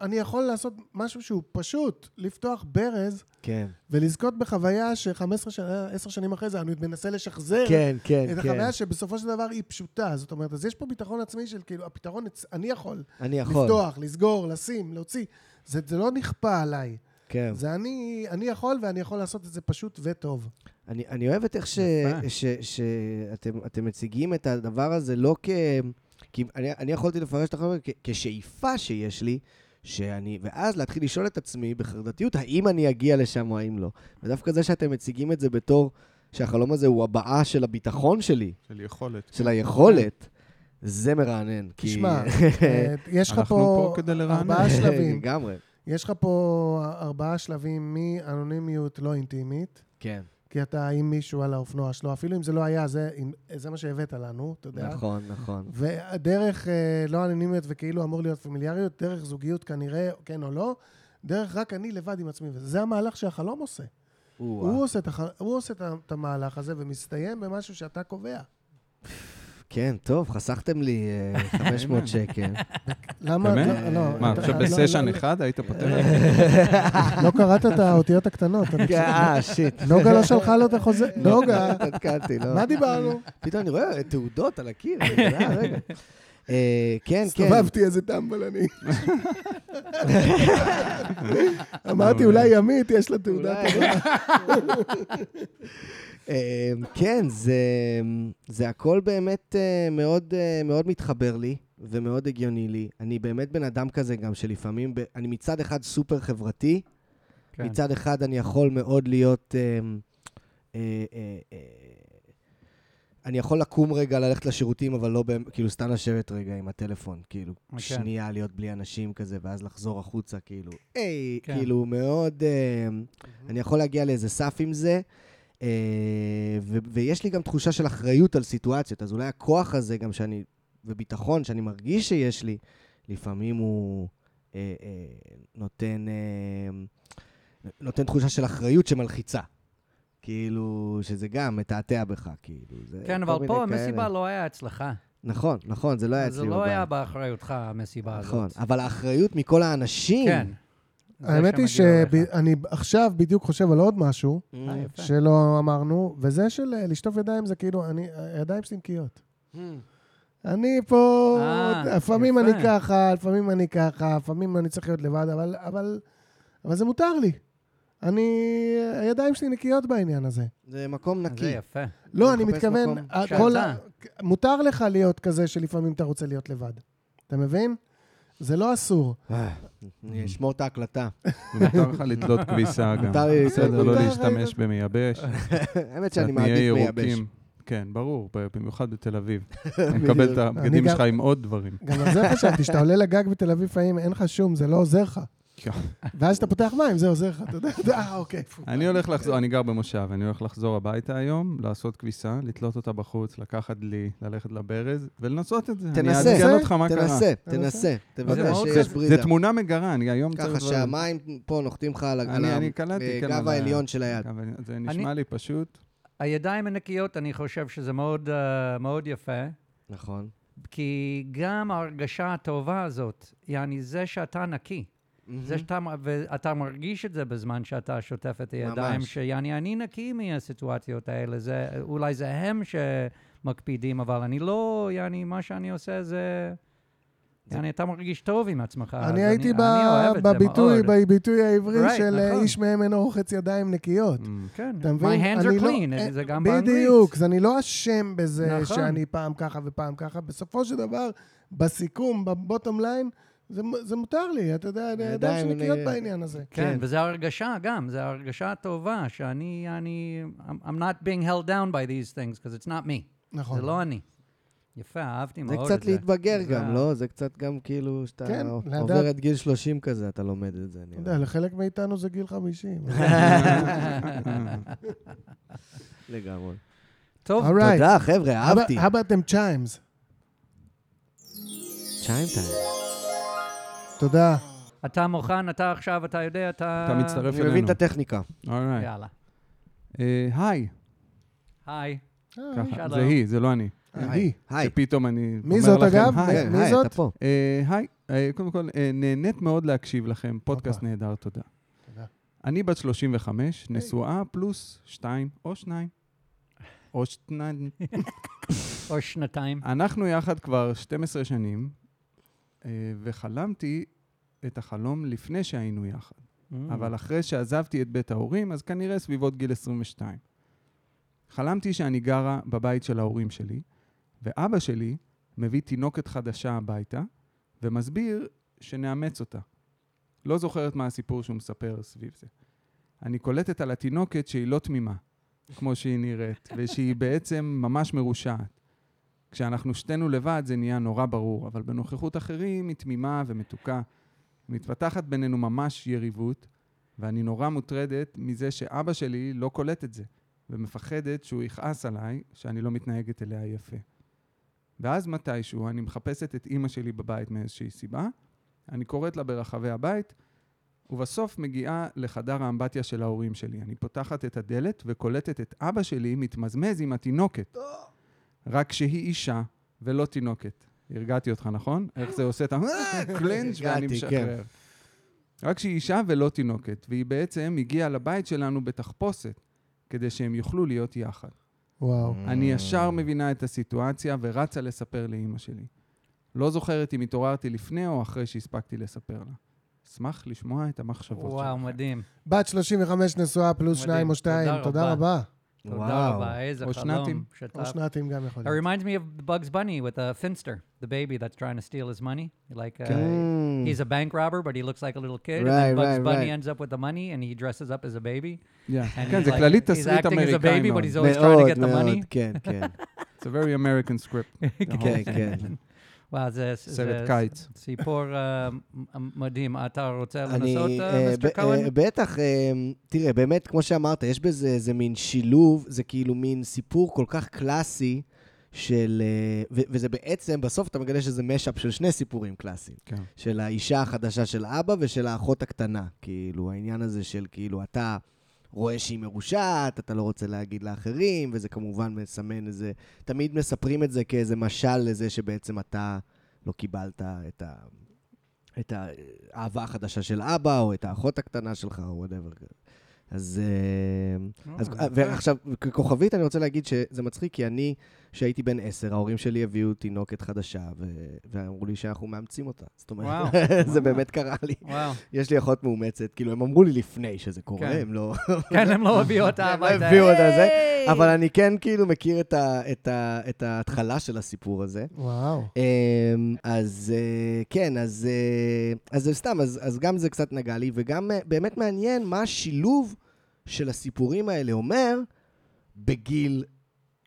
Speaker 1: אני יכול לעשות משהו שהוא פשוט, לפתוח ברז
Speaker 6: כן,
Speaker 1: ולזכות בחוויה ש-15 שנה, 10 שנים אחרי זה, אני מנסה לשחזר
Speaker 6: כן, כן.
Speaker 1: את
Speaker 6: כן.
Speaker 1: החוויה שבסופו של דבר היא פשוטה. זאת אומרת, אז יש פה ביטחון עצמי של כאילו, הפתרון, אצ- אני יכול.
Speaker 6: אני יכול.
Speaker 1: לפתוח, לסגור, לשים, להוציא. זה, זה לא נכפה עליי.
Speaker 6: כן.
Speaker 1: זה אני, אני יכול ואני יכול לעשות את זה פשוט וטוב.
Speaker 6: אני, אני אוהב את איך ש-
Speaker 3: יפה.
Speaker 6: ש- שאתם אתם מציגים את הדבר הזה לא כ... כי אני, אני יכולתי לפרש את החומר כ- כשאיפה שיש לי, שאני... ואז להתחיל לשאול את עצמי בחרדתיות, האם אני אגיע לשם או האם לא. ודווקא זה שאתם מציגים את זה בתור שהחלום הזה הוא הבעה של הביטחון שלי,
Speaker 3: של יכולת.
Speaker 6: של היכולת, זה מרענן. כי- [laughs]
Speaker 1: תשמע, אה, יש לך
Speaker 3: אנחנו
Speaker 1: פה
Speaker 3: פה כדי לרענן.
Speaker 1: ארבעה שלבים.
Speaker 6: לגמרי.
Speaker 1: יש לך פה ארבעה שלבים מאנונימיות לא אינטימית.
Speaker 6: כן,
Speaker 1: כי אתה עם מישהו על האופנוע שלו, אפילו אם זה לא היה, זה, אם, זה מה שהבאת לנו, אתה יודע.
Speaker 6: נכון, נכון.
Speaker 1: ודרך אה, לא אנונימיות וכאילו אמור להיות פמיליאריות, דרך זוגיות כנראה, כן או לא, דרך רק אני לבד עם עצמי, וזה המהלך שהחלום עושה.
Speaker 6: הוא
Speaker 1: הוא עושה, את הח... הוא עושה את ה- את המהלך הזה ומסתיים במשהו שאתה קובע.
Speaker 6: כן, טוב, חסכתם לי אה, 500 שקל.
Speaker 1: למה?
Speaker 3: באמת?
Speaker 1: לא, לא,
Speaker 3: מה,
Speaker 1: אתה-
Speaker 3: עכשיו
Speaker 1: לא,
Speaker 3: בסשן
Speaker 1: לא,
Speaker 3: אחד היית פותר את זה?
Speaker 1: לא קראת את האותיות הקטנות. אני חושב.
Speaker 6: אה, שיט.
Speaker 1: [laughs] נוגה כן. לא שלחה לו את החוזה. נוגה,
Speaker 6: התקלתי, לא.
Speaker 1: מה דיברנו?
Speaker 6: פתאום אני רואה תעודות על הקיר.
Speaker 1: [laughs]
Speaker 6: אני אומר, "אה, רגע." אה, כן, כן.
Speaker 1: הסתובבתי איזה טמבל
Speaker 2: [laughs]
Speaker 1: אני. אמרתי, אולי ימית, יש לה תעודת...
Speaker 6: אולי. [laughs] אמ, כן, זה, זה הכל באמת אה, מאוד, אה, מאוד מתחבר לי ומאוד הגיוני לי. אני באמת בן אדם כזה גם שלפעמים, ב- אני מצד אחד סופר חברתי,
Speaker 2: כן.
Speaker 6: מצד אחד אני יכול מאוד להיות... אמ, אה, אה, אה, אני יכול לקום רגע, ללכת לשירותים, אבל לא, באמ- כאילו, סתם לשבת רגע עם הטלפון, כאילו,
Speaker 2: כן.
Speaker 6: שנייה להיות בלי אנשים כזה, ואז לחזור החוצה, כאילו, היי,
Speaker 2: כן.
Speaker 6: כאילו, מאוד... אמ, אני יכול להגיע לאיזה סף עם זה, אה, ו- ויש לי גם תחושה של אחריות על סיטואציות, אז אולי הכוח הזה גם שאני, וביטחון שאני מרגיש שיש לי, לפעמים הוא אה, אה, נותן, אה, נותן תחושה של אחריות שמלחיצה. כאילו, שזה גם מתעתע בך, כאילו. זה
Speaker 2: כן,
Speaker 6: כל
Speaker 2: אבל
Speaker 6: מיני
Speaker 2: פה
Speaker 6: כאלה.
Speaker 2: המסיבה לא היה אצלך.
Speaker 6: נכון, נכון, זה לא היה אצלי
Speaker 2: זה
Speaker 6: בבית.
Speaker 2: לא היה באחריותך, המסיבה הזאת.
Speaker 6: נכון, אה, אבל האחריות מכל האנשים...
Speaker 2: כן. זה
Speaker 1: האמת היא
Speaker 2: שמגיע לך.
Speaker 1: שאני עכשיו בדיוק חושב על עוד משהו
Speaker 6: Mm,
Speaker 2: אה, יפה.
Speaker 1: שלא אמרנו, וזה של אה, לשטוף ידיים זה כאילו, אני- הידיים שלי נקיות.
Speaker 6: mm.
Speaker 1: אני פה,
Speaker 2: Hmm. אה,
Speaker 1: לפעמים
Speaker 2: יפה.
Speaker 1: אני ככה, לפעמים אני ככה, לפעמים אני צריך להיות לבד, אבל- אבל אבל זה מותר לי. אני, הידיים שלי נקיות בעניין הזה.
Speaker 6: זה מקום נקי.
Speaker 2: זה יפה.
Speaker 1: לא,
Speaker 6: אני
Speaker 1: אני
Speaker 6: מחפש
Speaker 1: מתכוון,
Speaker 6: מקום
Speaker 1: ה-
Speaker 2: שאתה.
Speaker 1: כל ה- מותר לך להיות כזה שלפעמים אתה רוצה להיות לבד. אתה מבין? זה לא אסור.
Speaker 6: אה,
Speaker 2: Mm.
Speaker 6: אני אשמור את ההקלטה. [laughs]
Speaker 3: ומותר לך לתלות כביסה גם.
Speaker 6: מותר לי
Speaker 3: בסדר,
Speaker 6: לתלות
Speaker 3: לא
Speaker 1: כביסה.
Speaker 3: להשתמש במייבש.
Speaker 6: האמת
Speaker 3: קצת
Speaker 6: שאני
Speaker 3: נהיה
Speaker 6: מעדיף מייבש.
Speaker 3: ירוקים. כן, ברור, ב- במיוחד בתל אביב.
Speaker 6: [laughs]
Speaker 3: אני מקבל את הבגדים
Speaker 1: אני
Speaker 3: שלך
Speaker 1: גם-
Speaker 3: עם עוד דברים.
Speaker 1: גם על זה חשבתי, שאתה עולה לגג בתל אביב פעמים, אין לך שום, זה לא עוזר לך.
Speaker 3: כן.
Speaker 1: ואז אתה פותח מים, זה עוזר לך, אתה יודע, אה, אוקיי. פו.
Speaker 3: אני הולך לחזור, אני גר במושב, אני הולך לחזור הביתה היום, לעשות כביסה, לתלות אותה בחוץ, לקחת לי, ללכת לברז, ולנסות את זה.
Speaker 6: תנסה.
Speaker 3: אני אעדכן אותך מה קרה.
Speaker 6: תנסה, תנסה, תוודא
Speaker 2: מאוד
Speaker 6: שיש
Speaker 2: כיף.
Speaker 6: בריזה.
Speaker 3: זה תמונה מגרה, אני היום
Speaker 6: ככה
Speaker 3: צריך-
Speaker 6: שהמים פה נוחתים לך על ה-
Speaker 3: אני-
Speaker 6: על
Speaker 3: אני קלטתי, כן,
Speaker 6: הגב
Speaker 3: אבל-
Speaker 6: העליון של היד.
Speaker 3: אבל זה נשמע לי פשוט.
Speaker 2: הידיים הנקיות, אני חושב שזה מאוד, אה, מאוד יפה,
Speaker 6: נכון.
Speaker 2: כי גם ההרגשה הטובה הזאת, יעני זה שאתה נקי,
Speaker 1: Mm-hmm.
Speaker 2: זה שאתה, מ- ואתה מרגיש את זה בזמן שאתה שוטף את הידיים,
Speaker 6: ממש.
Speaker 2: שיעני אני נקי מהסיטואציות האלה, זה, אולי זה הם שמקפידים, אבל אני לא, יעני, מה שאני עושה זה... יעני, אתה מרגיש טוב עם עצמך. אה, אז
Speaker 1: אני הייתי
Speaker 2: אני
Speaker 1: ב-
Speaker 2: אוהב את זה
Speaker 1: בביטוי,
Speaker 2: מאוד.
Speaker 1: בביטוי העברי
Speaker 2: Right,
Speaker 1: של אה,
Speaker 2: נכון.
Speaker 1: איש מהם אינו רוחץ ידיים
Speaker 6: אה,
Speaker 1: נקיות.
Speaker 2: כן,
Speaker 1: אתה מבין?
Speaker 2: my hands
Speaker 1: אני
Speaker 2: are
Speaker 1: לא-
Speaker 2: clean,
Speaker 1: אה,
Speaker 2: זה גם באנגלית.
Speaker 1: בדיוק, אז אני לא אשם בזה
Speaker 2: נכון.
Speaker 1: שאני פעם ככה ופעם ככה. בסופו של דבר, בסיכום, בבוטום ליין, זה מ- זה מותר לי, אתה יודע, הידיים
Speaker 6: ידיים
Speaker 1: שלי נקיות
Speaker 6: נ-
Speaker 1: בעניין הזה.
Speaker 2: כן,
Speaker 6: כן.
Speaker 2: וזה הרגשה גם, זה הרגשה טובה, שאני, אני, I'm, I'm not being held down by these things, because it's not me.
Speaker 1: נכון.
Speaker 2: זה לא אני. יפה, אהבתי
Speaker 6: זה
Speaker 2: מאוד את
Speaker 6: קצת
Speaker 2: זה.
Speaker 6: להתבגר
Speaker 2: זה
Speaker 6: גם,
Speaker 2: ה-
Speaker 6: לא? זה קצת גם כאילו, שאתה
Speaker 1: כן,
Speaker 6: עובר
Speaker 1: לדעת-
Speaker 6: את גיל 30 כזה, אתה לומד את זה.
Speaker 1: אתה יודע, לחלק מאיתנו זה גיל 50.
Speaker 6: לגמרי.
Speaker 2: [laughs] טוב,
Speaker 1: Alright.
Speaker 6: תודה, חבר'ה,
Speaker 1: How
Speaker 6: אהבתי.
Speaker 1: about- How about them chimes?
Speaker 6: צ'יים טיים.
Speaker 1: תודה.
Speaker 2: אתה מוכן, אתה עכשיו, אתה יודע, אתה...
Speaker 3: אתה מצטרף
Speaker 6: אני מבין
Speaker 3: אלינו.
Speaker 6: את הטכניקה.
Speaker 3: Alright.
Speaker 2: יאללה.
Speaker 3: אה, היי.
Speaker 2: היי.
Speaker 3: ככה,
Speaker 2: שלום.
Speaker 3: זה היא, זה לא אני.
Speaker 1: אני.
Speaker 6: היי.
Speaker 3: שפתאום אני אומר לכם,
Speaker 1: מי זאת אגב? כן.
Speaker 3: היי.
Speaker 1: מי
Speaker 6: היי,
Speaker 1: זאת?
Speaker 6: אתה פה.
Speaker 3: אה, היי, אה, קודם כל, אה, נהנית מאוד להקשיב לכם, פודקאסט
Speaker 1: הופה.
Speaker 3: נהדר, תודה.
Speaker 1: תודה.
Speaker 3: אני בת 35, נשואה פלוס שתיים, או שניים. או שניים.
Speaker 2: או שנתיים.
Speaker 3: אנחנו יחד כבר 12 שנים, אה, וחלמתי את החלום לפני שהיינו יחד.
Speaker 1: Mm.
Speaker 2: אה.
Speaker 3: אבל אחרי שעזבתי את בית ההורים, אז כנראה סביבות גיל 22. חלמתי שאני גרה בבית של ההורים שלי, ואבא שלי מביא תינוקת חדשה הביתה, ומסביר שנאמץ אותה. לא זוכרת מה הסיפור שהוא מספר סביב זה. אני קולטת על התינוקת שהיא לא תמימה, כמו שהיא נראית, ושהיא בעצם ממש מרושעת. כשאנחנו שתינו לבד זה נהיה נורא ברור, אבל בנוכחות אחרים היא תמימה ומתוקה. מתפתחת בינינו ממש יריבות, ואני נורא מוטרדת מזה שאבא שלי לא קולט את זה, ומפחדת שהוא יכעס עליי שאני לא מתנהגת אליה יפה. ואז מתישהו אני מחפשת את אימא שלי בבית מאיזושהי סיבה, אני קוראת לה ברחבי הבית, ובסוף מגיעה לחדר האמבטיה של ההורים שלי. אני פותחת את הדלת וקולטת את אבא שלי מתמזמז עם התינוקת. רק שהיא אישה, ולא תינוקת. הרגעתי אותך, נכון? איך זה עושה את ה... קלנג' ואני
Speaker 6: הרגעתי,
Speaker 3: משחרר. רק שהיא אישה ולא תינוקת, והיא בעצם הגיעה לבית שלנו בתחפושת, כדי שהם יוכלו להיות יחד.
Speaker 1: וואו.
Speaker 6: Mm.
Speaker 3: אני ישר מבינה את הסיטואציה ורצה לספר לאימא שלי. לא זוכרת אם התעוררתי לפני או אחרי שהספקתי לספר לה. אשמח לשמוע את המחשבות
Speaker 2: וואו,
Speaker 3: שלכם.
Speaker 2: מדהים.
Speaker 1: בת 35 נשואה פלוס
Speaker 2: מדהים.
Speaker 1: שניים או שתיים,
Speaker 2: תודה
Speaker 1: תודה רבה.
Speaker 2: תודה רבה, איזה
Speaker 3: או
Speaker 2: חלום.
Speaker 3: שנתים.
Speaker 1: או
Speaker 2: שת"פ.
Speaker 1: שנתיים גם יכול
Speaker 2: It
Speaker 1: להיות.
Speaker 2: reminds me of Bugs Bunny with a finster, the baby that's trying to steal his money. Like uh,
Speaker 6: Mm.
Speaker 2: he's a bank robber, but he looks like a little kid. and
Speaker 6: Right,
Speaker 2: then Bugs
Speaker 6: right,
Speaker 2: Bunny
Speaker 6: right.
Speaker 2: ends up with the money, and he dresses up as a baby.
Speaker 3: Yeah.
Speaker 2: And
Speaker 3: כן,
Speaker 2: he's
Speaker 3: זה
Speaker 2: like-
Speaker 3: כללית
Speaker 2: he's
Speaker 3: תסריט
Speaker 2: לא acting as a
Speaker 3: אמריקאי
Speaker 2: baby,
Speaker 3: מאוד.
Speaker 2: but he's always trying to get the money.
Speaker 6: כן,
Speaker 2: [laughs]
Speaker 6: כן.
Speaker 3: It's a very American script. נכון. the whole
Speaker 6: כן,
Speaker 3: thing.
Speaker 6: כן.
Speaker 2: וואו, זה... זה-
Speaker 3: סרט
Speaker 2: זה
Speaker 3: קיץ.
Speaker 2: סיפור אה, מ- מדהים. אתה רוצה
Speaker 6: אני,
Speaker 2: לנסות,
Speaker 6: אה,
Speaker 2: אה, מיסטר
Speaker 6: ב-
Speaker 2: כהן?
Speaker 6: אה, בטח, אה, תראה, באמת, כמו שאמרת, יש בזה איזה מין שילוב, זה כאילו מין סיפור כל כך קלאסי של... אה, ו- וזה בעצם, בסוף אתה מגלה שזה משאפ של שני סיפורים קלאסיים.
Speaker 3: כן.
Speaker 6: של האישה החדשה של אבא ושל האחות הקטנה. כאילו, העניין הזה של כאילו, אתה רואה שהיא מרושעת, אתה לא רוצה להגיד לאחרים, וזה כמובן מסמן איזה... תמיד מספרים את זה כאיזה משל לזה שבעצם אתה לא קיבלת את ה... את האהבה החדשה של אבא, או את האחות הקטנה שלך, או וואטאבר. אז... אה, אז,
Speaker 2: אה,
Speaker 6: ועכשיו, ככוכבית אני רוצה להגיד שזה מצחיק, כי אני, כשהייתי בן עשר, ההורים שלי הביאו תינוקת חדשה, ו- ואמרו לי שאנחנו מאמצים אותה. זאת אומרת, [laughs] זה באמת קרה לי.
Speaker 2: וואו.
Speaker 6: יש לי אחות מאומצת, כאילו, הם אמרו לי לפני שזה קורה,
Speaker 2: כן.
Speaker 6: הם לא...
Speaker 2: כן, הם לא הביאו אותה
Speaker 6: הם לא
Speaker 2: הביתה.
Speaker 6: הביאו אותה זה, אבל אני כן כאילו מכיר את ה- את ה- את ההתחלה של הסיפור הזה.
Speaker 1: וואו.
Speaker 6: אמ, אז אה, כן, אז אה, אז זה סתם, אז אז גם זה קצת נגע לי, וגם אה, באמת מעניין מה השילוב של הסיפורים האלה אומר בגיל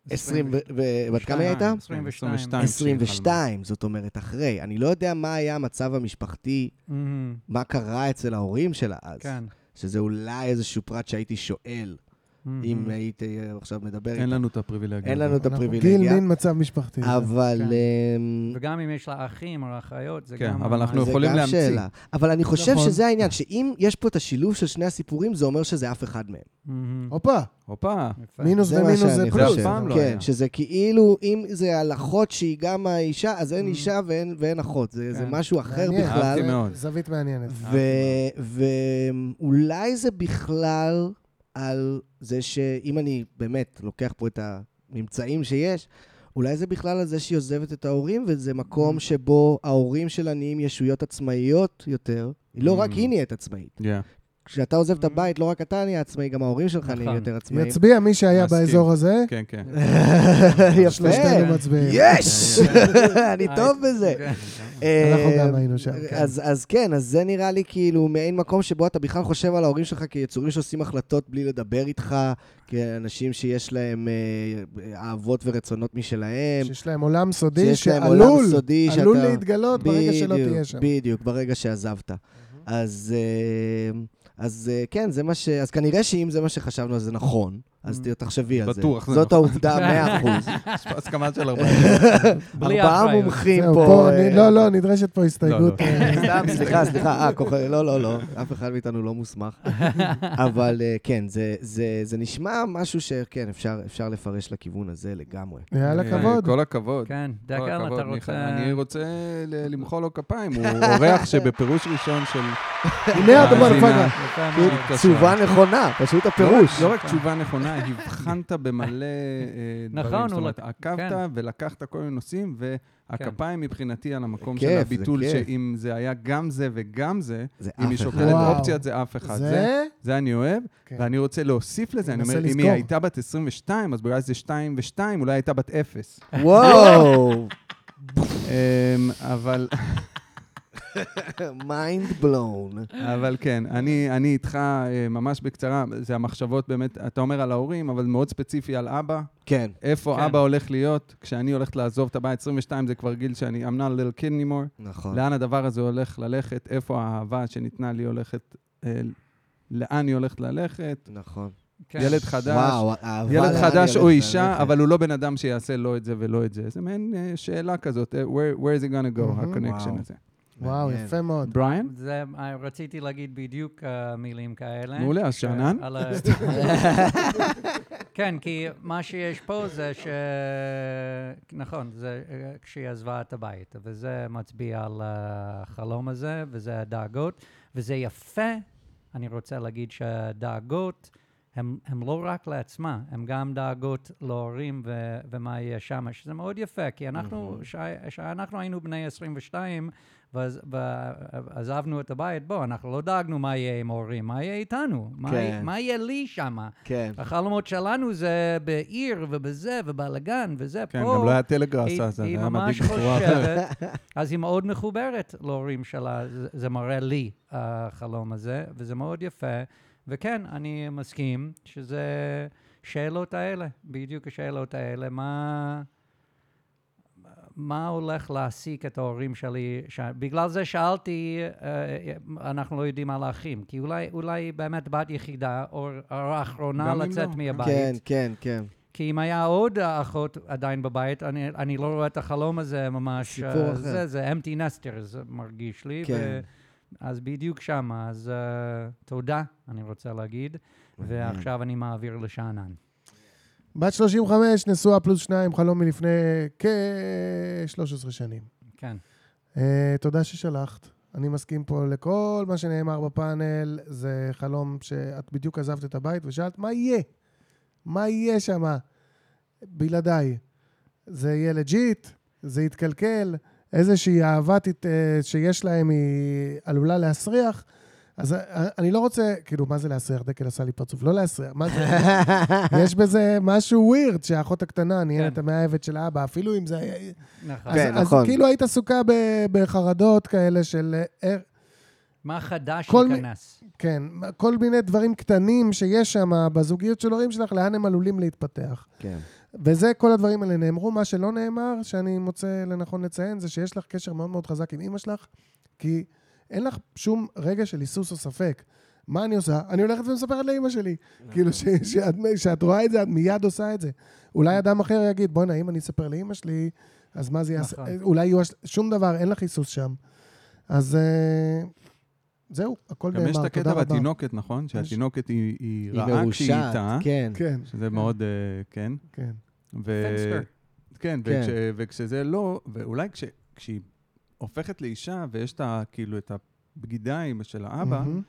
Speaker 6: 20, ו- ו- בת כמה היא הייתה?
Speaker 2: 22.
Speaker 6: 22, זאת אומרת, אחרי. אני לא יודע מה היה המצב המשפחתי,
Speaker 2: מהמם,
Speaker 6: מה קרה אצל ההורים שלה אז.
Speaker 2: כן.
Speaker 6: שזה אולי איזשהו פרט שהייתי שואל, אם
Speaker 2: מהמם.
Speaker 6: היית אה, עכשיו מדבר
Speaker 3: אין
Speaker 6: איתה.
Speaker 3: לנו את הפריבילגיה.
Speaker 6: אין
Speaker 3: הזאת.
Speaker 6: לנו את
Speaker 1: אנחנו-
Speaker 6: הפריבילגיה,
Speaker 1: גיל מין מצב משפחתי.
Speaker 6: אבל...
Speaker 2: כן.
Speaker 6: אמ,
Speaker 2: וגם אם יש לה אחים או אחיות, זה
Speaker 3: כן,
Speaker 2: גם...
Speaker 3: אבל אנחנו
Speaker 2: ממש-
Speaker 6: זה
Speaker 3: יכולים
Speaker 6: גם
Speaker 3: להמציא.
Speaker 6: שאלה. אבל אני חושב
Speaker 1: נכון.
Speaker 6: שזה העניין, שאם יש פה את השילוב של שני הסיפורים, זה אומר שזה אף אחד מהם.
Speaker 2: מהמם.
Speaker 1: הופה,
Speaker 2: [laughs]
Speaker 3: הופה.
Speaker 2: יפה.
Speaker 1: מינוס
Speaker 6: זה מה
Speaker 1: ומינוס זה
Speaker 6: שאני
Speaker 1: פלוס.
Speaker 3: אף פעם לא
Speaker 6: כן,
Speaker 3: היה.
Speaker 6: שזה כאילו, אם זה על אחות שהיא גם האישה, אז אין אישה ואין ואין אחות. זה זה
Speaker 3: כן.
Speaker 6: משהו אחר
Speaker 1: Mm. מעניין.
Speaker 6: בכלל.
Speaker 3: אהבתי מאוד.
Speaker 1: זווית מעניינת.
Speaker 6: ואולי זה בכלל על זה שאם אני באמת לוקח פה את הממצאים שיש, אולי זה בכלל על זה שהיא עוזבת את ההורים, וזה מקום שבו ההורים שלה נהיים ישויות עצמאיות יותר. לא רק
Speaker 3: Mm.
Speaker 6: היא נהיית עצמאית.
Speaker 3: Yeah.
Speaker 6: כשאתה עוזב את הבית, לא רק אתה נהיה עצמאי, גם ההורים שלך נהיים
Speaker 2: נכון.
Speaker 6: יותר
Speaker 1: [laughs]
Speaker 6: עצמאיים.
Speaker 1: יצביע מי שהיה
Speaker 3: מסכים.
Speaker 1: באזור הזה,
Speaker 3: כן,
Speaker 2: [laughs]
Speaker 3: כן. [laughs]
Speaker 6: [laughs] יפה.
Speaker 1: שלושתנו מצביעים.
Speaker 6: [laughs] יש! [laughs] אני טוב בזה.
Speaker 3: אוקיי.
Speaker 2: כן.
Speaker 1: אנחנו
Speaker 6: אה,
Speaker 1: גם היינו שם, כן.
Speaker 6: אז, אז כן, אז זה נראה לי כאילו מעין מקום שבו אתה בכלל חושב על ההורים שלך כיצורים שעושים החלטות בלי לדבר איתך, כאנשים שיש להם אה, אהבות ורצונות משלהם.
Speaker 1: שיש להם עולם סודי
Speaker 6: שיש להם עולם
Speaker 1: שעלול,
Speaker 6: סודי שאתה-
Speaker 1: עלול להתגלות ברגע שלא
Speaker 6: בדיוק,
Speaker 1: תהיה שם.
Speaker 6: בדיוק, ברגע שעזבת. אז, אה, אז אה, כן, זה מה ש... אז כנראה שאם זה מה שחשבנו, אז זה נכון. אז ת- תחשבי על זה.
Speaker 3: בטוח זה
Speaker 6: זאת
Speaker 3: נכון.
Speaker 6: העובדה, מאה
Speaker 3: [laughs]
Speaker 6: אחוז.
Speaker 3: יש פה הסכמה של
Speaker 6: [laughs]
Speaker 3: ארבעה.
Speaker 2: בלי
Speaker 6: ארבעה
Speaker 2: אחריות.
Speaker 6: מומחים
Speaker 1: זהו,
Speaker 6: פה...
Speaker 1: פה,
Speaker 6: אה,
Speaker 1: אני- לא, לא, נדרשת פה הסתייגות. אה,
Speaker 3: לא,
Speaker 6: סתם, סליחה, סליחה, אה, כוח... לא, לא, לא, אף אחד מאיתנו לא
Speaker 1: [laughs]
Speaker 6: מוסמך. אבל אה, כן, זה, זה, זה נשמע משהו שכן, אפשר, אפשר לפרש לכיוון הזה לגמרי.
Speaker 1: יאללה,
Speaker 3: אה,
Speaker 1: כבוד.
Speaker 3: כל הכבוד.
Speaker 2: כן,
Speaker 3: כל
Speaker 2: דקל,
Speaker 3: הכבוד,
Speaker 2: אתה
Speaker 3: מיכאל.
Speaker 2: רוצה...
Speaker 3: אני רוצה
Speaker 2: [laughs]
Speaker 3: ל- למחוא לו כפיים. הוא אורח שבפירוש ראשון של...
Speaker 1: הנה
Speaker 3: אה,
Speaker 1: אתה
Speaker 3: מאזינה.
Speaker 1: מרפגה.
Speaker 2: יפה מאוד.
Speaker 6: פשוט
Speaker 3: התקשרה.
Speaker 6: תשובה נכונה, פשוט הפירוש.
Speaker 3: לא רק תשובה נכונה, הבחנת במלא אה, דברים.
Speaker 2: כן. נכון,
Speaker 3: זאת
Speaker 2: הוא
Speaker 3: אומרת,
Speaker 2: לק-
Speaker 3: עקבת
Speaker 2: כן.
Speaker 3: ולקחת כל מיני נושאים, והכפיים מבחינתי על המקום
Speaker 6: זה
Speaker 3: של
Speaker 6: כיף, זה
Speaker 3: הביטול,
Speaker 6: כיף. אה,
Speaker 3: שאם זה היה גם זה וגם זה,
Speaker 6: זה
Speaker 3: אם היא
Speaker 6: אף אחד. לא-
Speaker 3: שוקלת
Speaker 1: וואו.
Speaker 3: אופציות זה אף אחד. זה?
Speaker 1: זה?
Speaker 3: זה אני אוהב,
Speaker 1: כן.
Speaker 3: ואני רוצה להוסיף לזה, אני
Speaker 1: מנסה
Speaker 3: אומר, אם
Speaker 1: לזכור.
Speaker 3: היא הייתה בת 22, אז בגלל שזה 2 ו-2, אולי הייתה בת 0.
Speaker 6: וואו,
Speaker 3: אמ, אבל
Speaker 6: מיינד בלון.
Speaker 3: אבל כן, אני, אני איתך אה, ממש בקצרה, זה המחשבות באמת, אתה אומר על ההורים, אבל מאוד ספציפי על אבא.
Speaker 6: כן,
Speaker 3: איפה
Speaker 2: כן.
Speaker 3: אבא הולך להיות כשאני הולך לעזוב את הבית? 22 זה כבר גיל שאני, I'm not a little kid anymore.
Speaker 6: נכון.
Speaker 3: לאן הדבר הזה הולך ללכת? איפה האהבה שניתנה לי הולכת? אה, לאן היא הולכת ללכת?
Speaker 6: נכון.
Speaker 2: כן.
Speaker 3: ילד חדש.
Speaker 6: וואו, אהבה
Speaker 3: ילד
Speaker 6: לאן
Speaker 3: חדש
Speaker 6: היא
Speaker 3: או
Speaker 6: הולכת
Speaker 3: אישה,
Speaker 6: ללכת.
Speaker 3: אבל הוא לא בן אדם שיעשה לא את זה ולא את זה. זה מעין אה, שאלה כזאת, אה, where where is it gonna go,
Speaker 1: מהמם.
Speaker 3: ה-connection
Speaker 6: Mm-hmm.
Speaker 1: וואו,
Speaker 3: הזה.
Speaker 6: וואו. מעניין.
Speaker 1: יפה מאוד.
Speaker 3: בריאן?
Speaker 2: זה, אה, רציתי להגיד בדיוק אה, מילים כאלה.
Speaker 3: מעולה, אז
Speaker 2: ש-
Speaker 3: שאנן?
Speaker 2: על ה- כן, כי מה שיש פה זה ש... נכון, זה אה, כשהיא עזבה את הבית, וזה מצביע על החלום הזה, וזה הדאגות, וזה יפה. אני רוצה להגיד שהדאגות הן הן לא רק לעצמה, הן גם דאגות להורים ו- ומה יהיה שם, שזה מאוד יפה, כי אנחנו, כשאנחנו היינו בני 22, ואז- ועזבנו את הבית, בוא, אנחנו לא דאגנו מה יהיה עם ההורים, מה יהיה איתנו? מה-
Speaker 6: כן.
Speaker 2: מה יהיה לי שמה?
Speaker 6: כן.
Speaker 2: החלומות שלנו זה בעיר ובזה ובלאגן וזה.
Speaker 3: כן,
Speaker 2: פה
Speaker 3: גם לא היה טלגראס
Speaker 2: היא-
Speaker 3: אז, זה
Speaker 2: היא
Speaker 3: היה
Speaker 2: ממש
Speaker 3: מדאיג בצורה אחרת.
Speaker 2: חושבת,
Speaker 3: [laughs]
Speaker 2: אז היא מאוד מחוברת להורים שלה, זה- זה מראה לי החלום הזה, וזה מאוד יפה. וכן, אני מסכים שזה שאלות האלה, בדיוק השאלות האלה, מה... מה הולך להעסיק את ההורים שלי? ש... בגלל זה שאלתי, אה, אנחנו לא יודעים על האחים, כי אולי, אולי היא באמת בת יחידה, או האחרונה
Speaker 3: גם אם
Speaker 2: לצאת
Speaker 3: לא,
Speaker 2: מהבית.
Speaker 6: כן, כן, כן.
Speaker 2: כי אם היה עוד אחות עדיין בבית, אני, אני לא רואה את החלום הזה ממש.
Speaker 6: סיפור
Speaker 2: אה,
Speaker 6: אחר.
Speaker 2: זה, זה empty nester, זה מרגיש לי.
Speaker 6: כן.
Speaker 2: ו... אז בדיוק שם, אז uh, תודה, אני רוצה להגיד.
Speaker 1: Mm-hmm.
Speaker 2: ועכשיו אני מעביר לשאנן.
Speaker 1: בת 35, נשואה פלוס שניים, חלום מלפני כ-13 שנים.
Speaker 2: כן.
Speaker 1: אה, תודה ששלחת. אני מסכים פה לכל מה שנאמר בפאנל. זה חלום שאת בדיוק עזבת את הבית ושאלת, מה יהיה? מה יהיה שמה? בלעדיי. זה יהיה לג'יט, זה יתקלקל, איזושהי אהבה תת- אה, שיש להם היא עלולה להסריח. אז אה, אה, אני לא רוצה, כאילו, מה זה להסריח? דקל עשה לי פרצוף. לא להסריח, מה
Speaker 6: [laughs]
Speaker 1: זה? יש בזה משהו ווירד שהאחות הקטנה נהיית
Speaker 2: כן.
Speaker 1: המאהבת של אבא, אפילו אם זה היה...
Speaker 2: נכון.
Speaker 1: אז,
Speaker 6: כן,
Speaker 1: אז
Speaker 6: נכון.
Speaker 1: כאילו היית עסוקה ב- בחרדות כאלה של... אה,
Speaker 2: מה חדש
Speaker 1: כל מי-
Speaker 2: ייכנס?
Speaker 1: כן, כל מיני דברים קטנים שיש שם בזוגיות של הורים שלך, לאן הם עלולים להתפתח.
Speaker 6: כן.
Speaker 1: וזה, כל הדברים האלה נאמרו. מה שלא נאמר, שאני מוצא לנכון לציין, זה שיש לך קשר מאוד מאוד חזק עם אימא שלך, כי אין לך שום רגע של היסוס או ספק. מה אני עושה? אני הולכת ומספרת לאימא שלי. כאילו, ש- שאת- שאת רואה את זה, את מיד עושה את זה. אולי אדם אחר יגיד, בואנה, אם אני אספר לאימא שלי, אז מה זה יעשה?
Speaker 2: נכון.
Speaker 1: אולי יהיו... הש- שום דבר, אין לך היסוס שם. אז אה, זהו, הכל
Speaker 3: גם
Speaker 1: נאמר.
Speaker 3: יש את
Speaker 1: תודה
Speaker 3: הקטע
Speaker 1: רבה.
Speaker 3: בתינוקת, נכון? שהתינוקת היא- היא
Speaker 6: היא
Speaker 3: רעה כשהיא
Speaker 6: מרושעת,
Speaker 3: איתה,
Speaker 6: כן.
Speaker 1: כן,
Speaker 3: שזה מאוד, אה, כן.
Speaker 1: כן.
Speaker 3: ו-
Speaker 2: Fenster.
Speaker 3: כן,
Speaker 6: כן.
Speaker 3: וכש, וכשזה לא, ואולי כש, כשהיא הופכת לאישה ויש את ה, כאילו את הבגידה עם- של האבא,
Speaker 1: מהמם.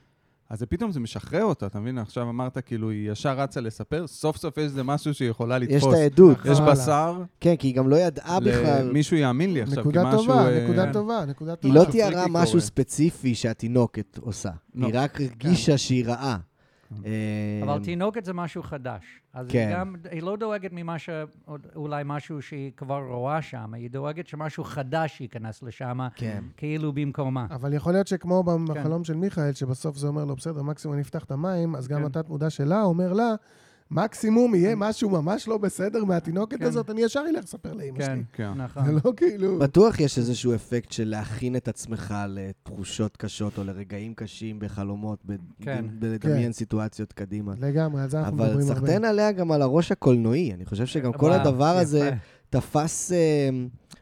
Speaker 3: אז זה פתאום זה משחרר אותה, אתה מבין? עכשיו אמרת, כאילו, היא ישר רצה לספר, סוף סוף יש איזה משהו שהיא יכולה
Speaker 6: יש
Speaker 3: לתפוס.
Speaker 6: את העדות.
Speaker 1: נכון.
Speaker 3: יש
Speaker 1: וואלה.
Speaker 3: בשר,
Speaker 6: כן, כי היא גם לא ידעה בכלל.
Speaker 3: מישהו יאמין לי עכשיו, כי
Speaker 1: נקודה
Speaker 3: משהו...
Speaker 1: טובה,
Speaker 3: אה,
Speaker 1: נקודה טובה, נקודה
Speaker 6: היא
Speaker 1: טובה.
Speaker 6: לא
Speaker 3: משהו
Speaker 6: תיארה
Speaker 3: פריקי
Speaker 6: משהו
Speaker 3: קורה.
Speaker 6: ספציפי שהתינוקת עושה.
Speaker 3: לא. כן.
Speaker 6: היא רק הרגישה שהיא רעה. אה,
Speaker 2: אבל תינוקת זה משהו חדש. אז
Speaker 6: כן.
Speaker 2: היא גם, היא לא דואגת ממה ש... עוד- אולי משהו שהיא כבר רואה שם, היא דואגת שמשהו חדש ייכנס לשם,
Speaker 6: כן.
Speaker 2: כאילו במקומה.
Speaker 1: אבל יכול להיות שכמו
Speaker 2: כן.
Speaker 1: בחלום של מיכאל, שבסוף זה אומר לו, בסדר, מקסימום אני אפתח את המים, אז גם
Speaker 2: כן.
Speaker 1: התת מודע שלה אומר לה, מקסימום יהיה משהו ממש לא בסדר מהתינוקת
Speaker 2: כן.
Speaker 1: הזאת, אני ישר אלך לספר לאמא
Speaker 2: כן,
Speaker 1: שלי.
Speaker 3: כן.
Speaker 2: נכון.
Speaker 1: זה לא כאילו...
Speaker 6: בטוח יש איזשהו אפקט של להכין את עצמך לתחושות קשות או לרגעים קשים בחלומות, ב-
Speaker 2: כן.
Speaker 6: בלדמיין סיטואציות קדימה.
Speaker 1: לגמרי, על זה אנחנו
Speaker 6: אבל
Speaker 1: מדברים הרבה.
Speaker 6: סחטיין עליה גם על הראש הקולנועי. אני חושב שגם כל
Speaker 3: אה,
Speaker 2: וואו,
Speaker 6: הדבר הזה
Speaker 2: יפה.
Speaker 6: תפס אה,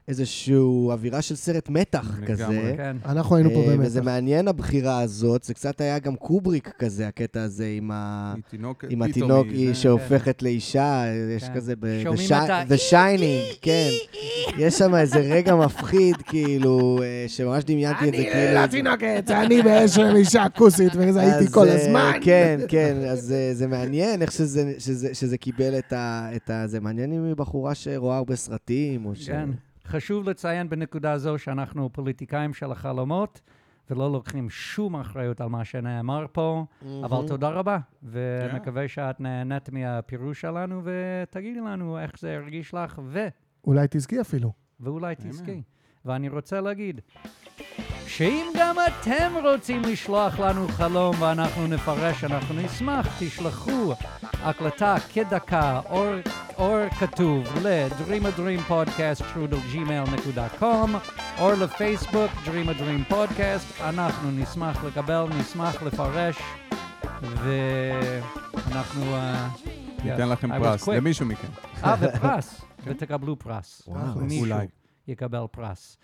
Speaker 6: איזשהו אווירה של סרט מתח
Speaker 3: לגמרי.
Speaker 6: כזה.
Speaker 2: כן.
Speaker 1: אנחנו היינו פה
Speaker 6: אה,
Speaker 1: באמת.
Speaker 6: וזה מעניין הבחירה הזאת, זה קצת היה גם קובריק כזה, הקטע הזה עם ה...
Speaker 3: היא תינוקת,
Speaker 6: עם
Speaker 3: פתאום
Speaker 6: התינוק
Speaker 3: היא-
Speaker 6: היא
Speaker 3: זה- כן.
Speaker 6: שהופכת לאישה, יש
Speaker 2: כן.
Speaker 6: כזה ב...
Speaker 2: שומעים
Speaker 6: The Shi-
Speaker 2: את ה-
Speaker 6: The Shining, כן. יש שם איזה רגע מפחיד, כאילו, אה, שממש דמיינתי את זה,
Speaker 1: אני
Speaker 6: כאילו...
Speaker 1: לא תינוקת, אני באיזשהו [laughs] אישה כוסית, וזה הייתי
Speaker 6: אז,
Speaker 1: כל
Speaker 6: אה,
Speaker 1: הזמן. [laughs]
Speaker 6: כן, כן, אז אה, זה מעניין איך שזה- שזה שזה קיבל את ה... את ה- זה מעניין אם היא בחורה שרואה הרבה סרטים, או ש...
Speaker 2: כן. חשוב לציין בנקודה זו שאנחנו פוליטיקאים של החלומות, ולא לוקחים שום אחריות על מה שנאמר פה, אבל תודה רבה,
Speaker 6: כן.
Speaker 2: ומקווה שאת נהנית מהפירוש שלנו, ותגידי לנו איך זה הרגיש לך, ו...
Speaker 1: אולי תזכי אפילו.
Speaker 2: ואולי תזכי. ואני רוצה להגיד, שאם גם אתם רוצים לשלוח לנו חלום ואנחנו נפרש, אנחנו נשמח, תשלחו הקלטה כדקה או, או כתוב ל-Dream a Dream Podcast trudel@gmail.com, או לפייסבוק Dream a Dream Podcast, אנחנו נשמח לקבל, נשמח לפרש ואנחנו... אה,
Speaker 3: ניתן
Speaker 2: yes,
Speaker 3: לכם
Speaker 2: I was
Speaker 3: פרס, כן.
Speaker 2: quick.
Speaker 3: למישהו מכם.
Speaker 2: אה,
Speaker 3: [laughs]
Speaker 2: ופרס, ותקבלו פרס.
Speaker 6: וואו.
Speaker 2: מישהו
Speaker 3: אולי.
Speaker 2: יקבל פרס.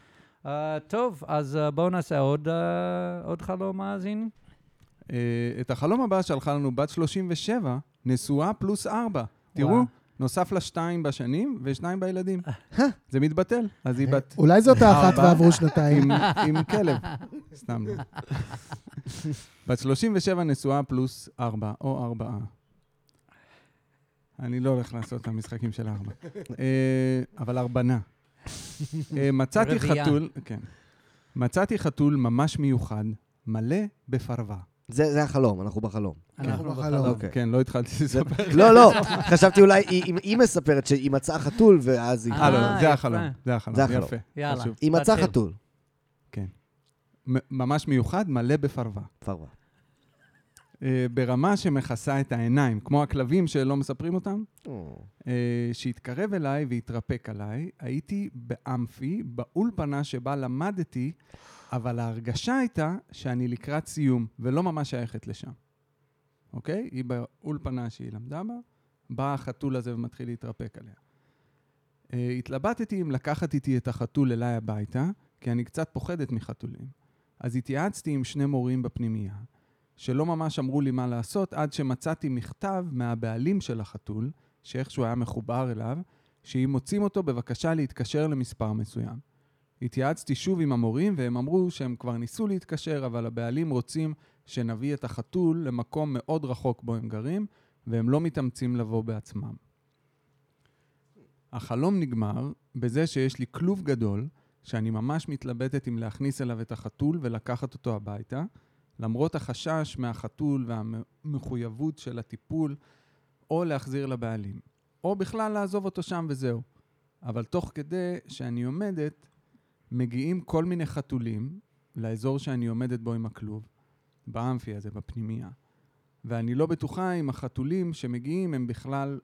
Speaker 2: אה, טוב, אז אה, בואו נעשה עוד, אה, עוד חלום מאזין.
Speaker 3: אה, את החלום הבא שלחה לנו בת 37, נשואה פלוס 4. תראו,
Speaker 2: וואו.
Speaker 3: נוסף לה שתיים בשנים ושניים בילדים. זה מתבטל, אז
Speaker 1: אה?
Speaker 3: היא בת...
Speaker 1: אולי זאת האחת
Speaker 3: ארבע.
Speaker 1: ועברו שנתיים.
Speaker 3: עם, עם כלב, סתם לא. [laughs] בת 37 נשואה פלוס 4, או 4. אני לא הולך לעשות את המשחקים של הארבע. אה, אבל ארבנה. אה, מצאתי
Speaker 2: רביעייה.
Speaker 3: חתול, כן. מצאתי חתול ממש מיוחד, מלא בפרווה.
Speaker 6: זה זה החלום, אנחנו בחלום.
Speaker 2: אנחנו
Speaker 1: בחלום.
Speaker 2: בחלום.
Speaker 6: אוקיי.
Speaker 3: כן, לא התחלתי לספר.
Speaker 6: לא, לא, חשבתי אולי היא- היא- היא מספרת שהיא מצאה חתול, ואז היא...
Speaker 3: אה, לא,
Speaker 2: אה,
Speaker 3: לא,
Speaker 2: יפה.
Speaker 3: זה החלום, זה החלום,
Speaker 6: זה החלום.
Speaker 3: יפה.
Speaker 2: יאללה.
Speaker 3: חשוב.
Speaker 6: היא מצאה
Speaker 2: תתחיל.
Speaker 6: חתול.
Speaker 3: מ- ממש מיוחד, מלא בפרווה.
Speaker 6: פרווה.
Speaker 3: אה, ברמה שמכסה את העיניים, כמו הכלבים שלא מספרים אותם. אה, שהתקרב אליי והתרפק עליי, הייתי באמפי, באולפנה שבה למדתי, אבל ההרגשה הייתה שאני לקראת סיום, ולא ממש שייכת לשם. אוקיי? היא באולפנה שהיא למדה בה, בא החתול הזה ומתחיל להתרפק עליה. אה, התלבטתי אם לקחת איתי את החתול אליי הביתה, כי אני קצת פוחדת מחתולים. אז התייעצתי עם שני מורים בפנימייה, שלא ממש אמרו לי מה לעשות, עד שמצאתי מכתב מהבעלים של החתול, שאיכשהו היה מחובר אליו, שאם מוצאים אותו בבקשה להתקשר למספר מסוים. התייעצתי שוב עם המורים והם אמרו שהם כבר ניסו להתקשר, אבל הבעלים רוצים שנביא את החתול למקום מאוד רחוק בו הם גרים, והם לא מתאמצים לבוא בעצמם. החלום נגמר בזה שיש לי כלוב גדול, שאני ממש מתלבטת אם להכניס אליו את החתול ולקחת אותו הביתה, למרות החשש מהחתול והמחויבות של הטיפול או להחזיר לבעלים, או בכלל לעזוב אותו שם וזהו. אבל תוך כדי שאני עומדת, מגיעים כל מיני חתולים לאזור שאני עומדת בו עם הכלוב, באמפי הזה, בפנימייה. ואני לא בטוחה אם החתולים שמגיעים הם בכלל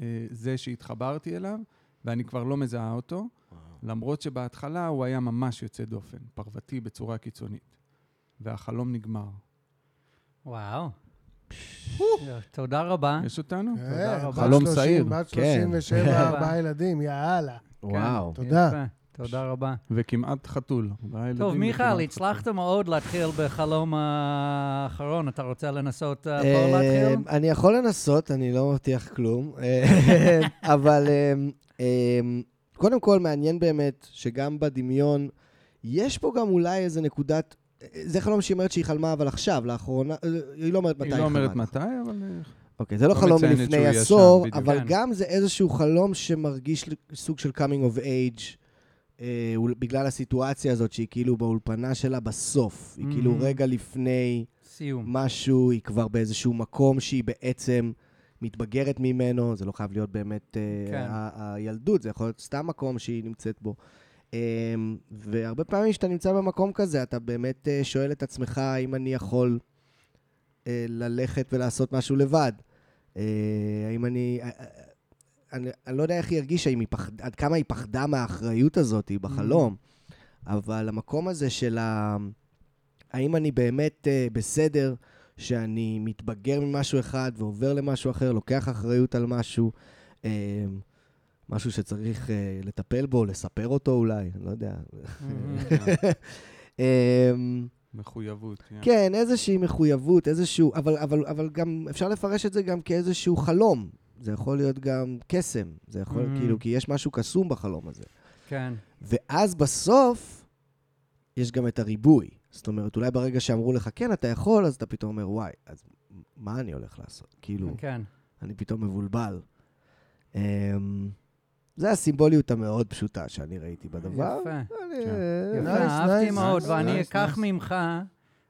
Speaker 3: אה, זה שהתחברתי אליו, ואני כבר לא מזהה אותו, למרות שבהתחלה הוא היה ממש יוצא דופן, פרוותי בצורה קיצונית. והחלום נגמר.
Speaker 2: וואו. תודה רבה.
Speaker 3: יש אותנו?
Speaker 1: כן,
Speaker 2: תודה רבה.
Speaker 1: בת
Speaker 3: חלום
Speaker 1: 30,
Speaker 3: שעיר.
Speaker 1: בת
Speaker 6: כן.
Speaker 1: 37, ארבעה ילדים, יאללה.
Speaker 2: כן.
Speaker 6: וואו.
Speaker 1: תודה.
Speaker 2: יפה. תודה רבה.
Speaker 3: וכמעט חתול.
Speaker 2: טוב,
Speaker 3: והילדים וכמעט
Speaker 2: מיכאל,
Speaker 3: חתול.
Speaker 2: הצלחת מאוד להתחיל בחלום אה, האחרון. אתה רוצה לנסות אה, פה
Speaker 6: אה,
Speaker 2: להתחיל?
Speaker 6: אני יכול לנסות, אני לא מבטיח כלום. אה, [laughs] אבל אה, אה, קודם כל, מעניין באמת שגם בדמיון, יש פה גם אולי איזה נקודת... אה, זה חלום שהיא אומרת שהיא חלמה, אבל עכשיו, לאחרונה... אה, היא לא אומרת מתי
Speaker 3: היא
Speaker 6: היא
Speaker 3: לא
Speaker 6: חלמה.
Speaker 3: אומרת מתי, אבל...
Speaker 6: [laughs]
Speaker 3: אה,
Speaker 6: אוקיי, זה לא
Speaker 3: לא
Speaker 6: חלום
Speaker 3: מציינת שהוא
Speaker 6: מלפני
Speaker 3: ישן,
Speaker 6: עשור,
Speaker 3: בדיוק.
Speaker 6: אבל
Speaker 2: כן.
Speaker 6: גם זה איזשהו חלום שמרגיש לי סוג של coming of age, אה, אול- בגלל הסיטואציה הזאת שהיא כאילו באולפנה שלה בסוף. היא כאילו
Speaker 3: Mm-hmm.
Speaker 2: Mhm.
Speaker 6: רגע לפני
Speaker 2: סיום.
Speaker 6: משהו, היא כבר באיזשהו מקום שהיא בעצם מתבגרת ממנו, זה לא חייב להיות באמת אה,
Speaker 2: כן.
Speaker 6: ה- הילדות, זה יכול להיות סתם מקום שהיא נמצאת בו. אה, והרבה פעמים כשאתה נמצא במקום כזה, אתה באמת אה, שואל את עצמך האם אני יכול אה, ללכת ולעשות משהו לבד. אה, האם אני... אה, אה, אני, אני לא יודע איך היא הרגישה, אם היא פחד, עד כמה היא פחדה מהאחריות הזאת בחלום, אבל המקום הזה של ה... האם אני באמת אה, בסדר שאני מתבגר ממשהו אחד ועובר למשהו אחר, לוקח אחריות על משהו, אה, משהו שצריך אה, לטפל בו, לספר אותו אולי, אני לא יודע.
Speaker 3: אה.
Speaker 2: אה,
Speaker 6: אה,
Speaker 3: מחויבות. כן.
Speaker 6: כן, איזושהי מחויבות, איזשהו... אבל, אבל, אבל גם אפשר לפרש את זה גם כאיזשהו חלום. זה יכול להיות גם קסם. זה יכול,
Speaker 2: Mm.
Speaker 6: mm. כאילו, כי יש משהו קסום בחלום הזה.
Speaker 2: כן.
Speaker 6: ואז בסוף, יש גם את הריבוי. זאת אומרת, אולי ברגע שאמרו לך, כן, אתה יכול, אז אתה פתאום אומר, וואי, אז מה אני הולך לעשות? כאילו,
Speaker 2: כן.
Speaker 6: אני פתאום מבולבל. אמ, זה הסימבוליות המאוד פשוטה שאני ראיתי בדבר.
Speaker 2: יפה.
Speaker 6: אני-
Speaker 3: כן.
Speaker 1: Nice,
Speaker 2: יפה, אהבתי
Speaker 1: nice,
Speaker 2: מאוד,
Speaker 1: nice,
Speaker 2: ואני
Speaker 3: nice,
Speaker 2: אקח
Speaker 3: nice.
Speaker 2: ממך,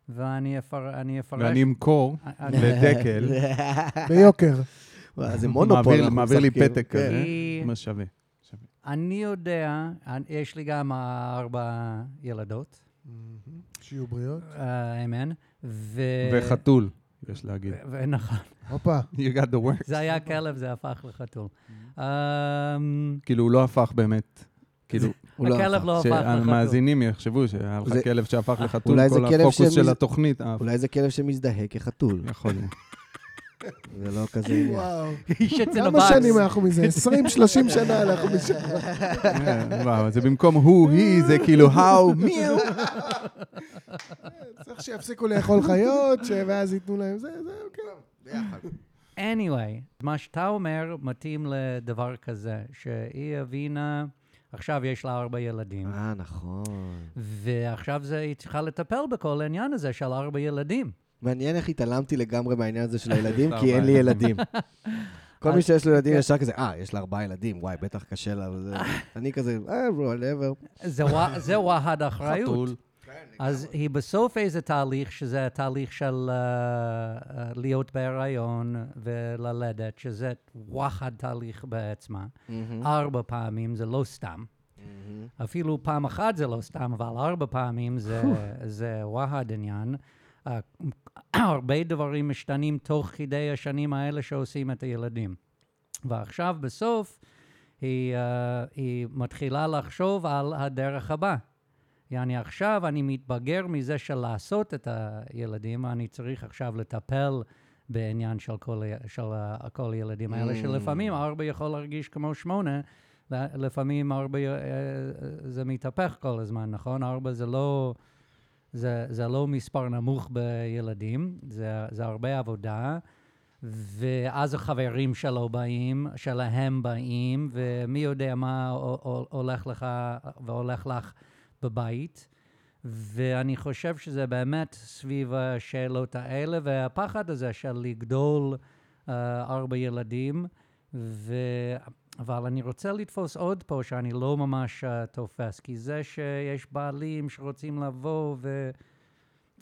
Speaker 2: ואני אפר- אני אפרש...
Speaker 3: ואני אמכור
Speaker 2: אני-
Speaker 6: [laughs]
Speaker 3: לדקל,
Speaker 1: ביוקר.
Speaker 6: וואי, זה מונופול.
Speaker 3: מעביר-
Speaker 6: אנחנו
Speaker 3: מעביר לי
Speaker 6: משחקים.
Speaker 3: פתק
Speaker 6: כן.
Speaker 3: כזה.
Speaker 2: כי
Speaker 3: מה שווה.
Speaker 2: אני יודע, אני- יש לי גם ארבע ילדות,
Speaker 1: שיהיו בריאות.
Speaker 2: אה, אמן, ו...
Speaker 3: וחתול, יש להגיד.
Speaker 2: ו- ו- נכון,
Speaker 1: הופה.
Speaker 3: You got the work.
Speaker 2: זה היה כלב, זה הפך לחתול.
Speaker 6: Mm-hmm.
Speaker 2: אמ,
Speaker 3: כאילו, הוא לא הפך באמת. כאילו,
Speaker 6: הוא לא
Speaker 2: הכלב
Speaker 6: הפך.
Speaker 2: לא הפך לחתול.
Speaker 3: שהמאזינים יחשבו שהיה לך
Speaker 6: זה- אה,
Speaker 3: כלב שהפך לחתול,
Speaker 6: אולי זה
Speaker 3: כל
Speaker 6: כלב
Speaker 3: הפוקוס
Speaker 6: שמי-
Speaker 3: של התוכנית. אה,
Speaker 6: אולי זה כלב שמזדהה כחתול,
Speaker 3: [laughs] יכול להיות.
Speaker 6: זה לא כזה עניין.
Speaker 1: וואו.
Speaker 2: איש אצל
Speaker 1: כמה
Speaker 2: הבאקס.
Speaker 1: שנים אנחנו מזה? 20, 30 שנה אנחנו [laughs] מזה.
Speaker 3: אה, וואו, זה במקום הוא, היא, זה כאילו
Speaker 6: [laughs]
Speaker 3: how, מיהו.
Speaker 1: צריך שיפסיקו לאכול חיות, ש- ואז ייתנו להם זה, זה, כן.
Speaker 2: אה, anyway, מה שאתה אומר מתאים לדבר כזה, שהיא הבינה, עכשיו יש לה ארבע ילדים,
Speaker 6: אה, נכון.
Speaker 2: ועכשיו זה, היא צריכה לטפל בכל העניין הזה של ארבע ילדים.
Speaker 6: מעניין איך התעלמתי לגמרי מהעניין הזה של הילדים,
Speaker 3: יש לה
Speaker 6: כי אין לי
Speaker 3: ארבעה
Speaker 6: ילדים. כל מי
Speaker 2: אז-
Speaker 6: שיש לו ילדים
Speaker 2: כן.
Speaker 6: ישר כזה, אה, יש לה ארבעה ילדים, וואי, בטח קשה לה. וזה." אני כזה, אה, whatever.
Speaker 2: זה וע- זה וואחד אחריות.
Speaker 3: חתול.
Speaker 2: אז היא בסוף איזה תהליך, שזה התהליך של אה, אה, להיות בהיריון וללדת, שזה וואחד תהליך בעצמה. ארבע פעמים זה לא סתם. אפילו פעם אחת זה לא סתם, אבל ארבע פעמים זה, זה וואחד עניין. אה, [clears throat] הרבה דברים משתנים תוך כדי השנים האלה שעושים את הילדים. ועכשיו בסוף היא, אה, היא מתחילה לחשוב על הדרך הבאה. יעני עכשיו אני מתבגר מזה של לעשות את הילדים, אני צריך עכשיו לטפל בעניין של כל, ה- של ה- כל הילדים האלה, שלפעמים ארבע יכול להרגיש כמו שמונה, ל- לפעמים ארבע אה, אה, זה מתהפך כל הזמן, נכון? ארבע זה לא, זה, זה לא מספר נמוך בילדים, זה, זה הרבה עבודה. ואז החברים שלו באים, שלהם באים, ומי יודע מה הו- הו- הולך לך והולך לך בבית. ואני חושב שזה באמת סביב השאלות האלה והפחד הזה של לגדול אה, ארבע ילדים. ו... אבל אני רוצה לתפוס עוד פה שאני לא ממש אה, תופס, כי זה שיש בעלים שרוצים לבוא ו...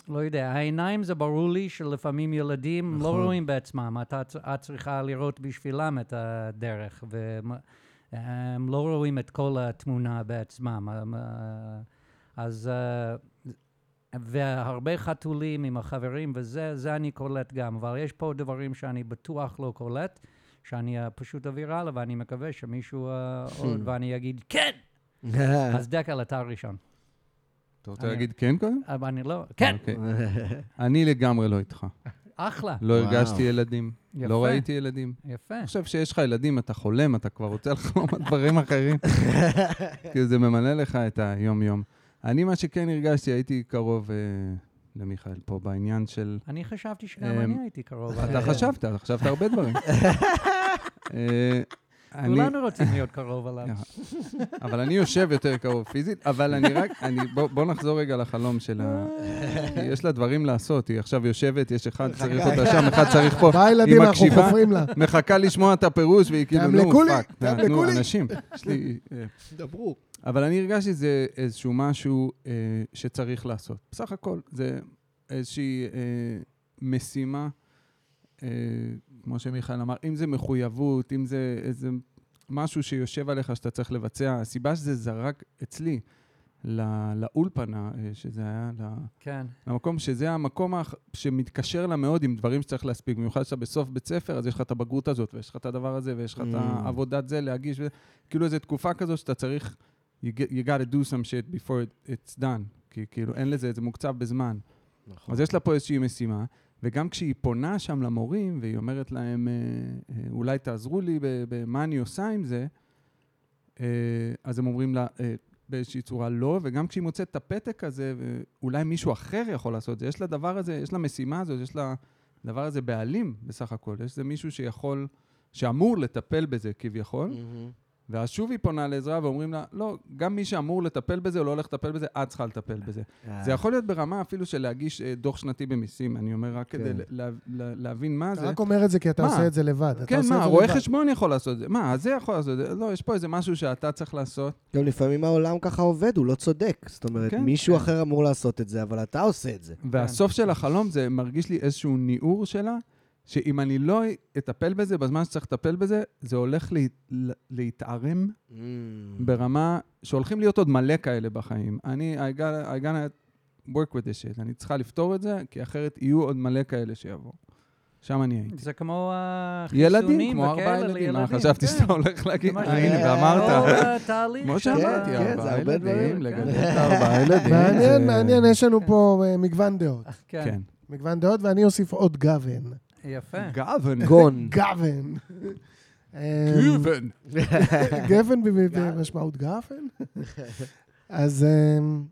Speaker 2: לא יודע, העיניים זה ברור לי שלפעמים ילדים נכון. לא רואים בעצמם, אתה, צ- את צריכה לראות בשבילם את הדרך, והם לא רואים את כל התמונה בעצמם. הם, אה, אז... אה, והרבה חתולים עם החברים וזה, זה אני קולט גם, אבל יש פה דברים שאני בטוח לא קולט, שאני אה, פשוט אעביר הלאה, ואני מקווה שמישהו אה,
Speaker 3: Hmm.
Speaker 2: עוד, ואני אגיד כן!
Speaker 3: אה.
Speaker 2: אז דקל, אתה הראשון.
Speaker 3: אתה רוצה
Speaker 2: אני-
Speaker 3: להגיד כן קודם?
Speaker 2: אבל אני לא... כן!
Speaker 3: אוקיי. אני לגמרי לא איתך.
Speaker 2: אחלה!
Speaker 3: לא
Speaker 6: וואו.
Speaker 3: הרגשתי ילדים.
Speaker 2: יפה.
Speaker 3: לא ראיתי ילדים.
Speaker 2: יפה.
Speaker 3: אני חושב שיש לך ילדים, אתה חולם, אתה כבר רוצה לחלום על דברים אחרים. כי זה ממלא לך את היום-יום. אני, מה שכן הרגשתי, הייתי קרוב אה, למיכאל פה בעניין של...
Speaker 2: אני חשבתי שגם
Speaker 3: אמ,
Speaker 2: אני הייתי קרוב.
Speaker 3: אתה
Speaker 2: אליו.
Speaker 3: חשבת, אתה חשבת הרבה דברים. אה, אני-
Speaker 2: כולנו רוצים להיות קרוב
Speaker 3: [laughs]
Speaker 2: אליו.
Speaker 3: אבל אני יושב יותר קרוב פיזית, אבל אני רק, אני, בוא, בוא נחזור רגע לחלום של ה... כי יש לה דברים לעשות, היא עכשיו יושבת, יש אחד צריך אותה שם, אחד צריך פה,
Speaker 1: בא ילדים, אנחנו
Speaker 3: מקשיבה?
Speaker 1: חופרים לה.
Speaker 3: מחכה לשמוע את הפירוש, והיא כאילו, נו,
Speaker 1: תאמלקו לי,
Speaker 3: פאק,
Speaker 1: תאמלקו
Speaker 3: נו,
Speaker 1: לי."
Speaker 3: אנשים, יש לי... אה,
Speaker 6: דברו.
Speaker 3: אבל אני הרגשתי שזה איזשהו משהו אה, שצריך לעשות. בסך הכל, זה איזושהי אה, משימה, אה, כמו שמיכאל אמר, אם זה מחויבות, אם זה איזה משהו שיושב עליך שאתה צריך לבצע, הסיבה שזה זרק אצלי לא, לאולפנה, אה, שזה היה, ל,
Speaker 2: כן.
Speaker 3: למקום שזה המקום האח... שמתקשר לה מאוד עם דברים שצריך להספיק. במיוחד שאתה בסוף בית ספר, אז יש לך את הבגרות הזאת, ויש לך את הדבר הזה, ויש לך את
Speaker 6: Mm.
Speaker 3: העבודת זה להגיש, וזה. כאילו איזו תקופה כזו שאתה צריך, you, get, you gotta do some shit before it- it's done. כי כאילו אין לזה, זה מוקצב בזמן.
Speaker 6: נכון.
Speaker 3: אז יש לה פה איזושהי משימה, וגם כשהיא פונה שם למורים, והיא אומרת להם, אה, אה, אולי תעזרו לי ב- במה אני עושה עם זה, אה, אז הם אומרים לה, אה, באיזושהי צורה לא, וגם כשהיא מוצאת את הפתק הזה, ואולי מישהו אחר יכול לעשות את זה, יש לדבר הזה, יש למשימה הזאת, יש לדבר הזה בעלים בסך הכל, יש איזה מישהו שיכול, שאמור לטפל בזה כביכול,
Speaker 6: מהמם.
Speaker 3: ואז שוב היא פונה לעזרה ואומרים לה, לא, גם מי שאמור לטפל בזה, לא הולך לטפל בזה, את צריכה לטפל בזה.
Speaker 6: אה.
Speaker 3: זה יכול להיות ברמה אפילו של להגיש אה, דוח שנתי במיסים, אני אומר, רק
Speaker 6: כן.
Speaker 3: כדי ל- לה- לה- להבין מה
Speaker 1: אתה
Speaker 3: זה.
Speaker 1: רק אומר את זה כי אתה
Speaker 3: מה?
Speaker 1: עושה את זה לבד. אתה
Speaker 3: כן,
Speaker 1: עושה את
Speaker 3: מה,
Speaker 1: זה
Speaker 3: רואה
Speaker 1: לבד.
Speaker 3: חשבון יכול לעשות את זה, מה, זה יכול לעשות את זה, לא, יש פה איזה משהו שאתה צריך לעשות.
Speaker 6: גם לפעמים העולם ככה עובד, הוא לא צודק. זאת אומרת,
Speaker 3: כן,
Speaker 6: מישהו אחר אמור לעשות את זה, אבל אתה עושה את זה.
Speaker 1: כן.
Speaker 3: והסוף של החלום זה מרגיש לי איזשהו ניעור שלה, שאם אני לא אטפל בזה בזמן שצריך לטפל בזה, זה הולך להת- לה- להתערם ברמה שהולכים להיות עוד מלא כאלה בחיים. אני, I gotta, I gotta work with this shit, אני צריכה לפתור את זה, כי אחרת יהיו עוד מלא כאלה שיבואו. שם אני הייתי.
Speaker 2: זה כמו החיסונים וכאלה
Speaker 3: ילדים, כמו ארבעה ילדים. מה, חשבתי
Speaker 2: כן.
Speaker 3: שאתה הולך להגיד?
Speaker 2: זה מה
Speaker 3: אה,
Speaker 2: ש-
Speaker 3: הנה,
Speaker 2: כל
Speaker 3: ואמרת.
Speaker 2: התהליך
Speaker 3: כמו
Speaker 2: של ה-
Speaker 3: שאמרתי,
Speaker 6: לא. כן, זה
Speaker 3: ארבעה
Speaker 6: הרבה
Speaker 3: ילדים,
Speaker 6: דברים,
Speaker 3: לגדל
Speaker 6: כן.
Speaker 3: את
Speaker 6: [laughs]
Speaker 3: ארבעה ילדים.
Speaker 1: מעניין,
Speaker 3: זה-
Speaker 1: מעניין, יש לנו פה אה, מגוון דעות.
Speaker 2: [laughs] כן,
Speaker 3: כן.
Speaker 1: מגוון דעות, ואני אוסיף עוד גוון.
Speaker 2: יפה.
Speaker 6: כן.
Speaker 3: גוון.
Speaker 6: גון.
Speaker 1: [laughs] גוון. אה,
Speaker 3: גוון.
Speaker 1: גפן ב- במשמעות גפן? אז אמ,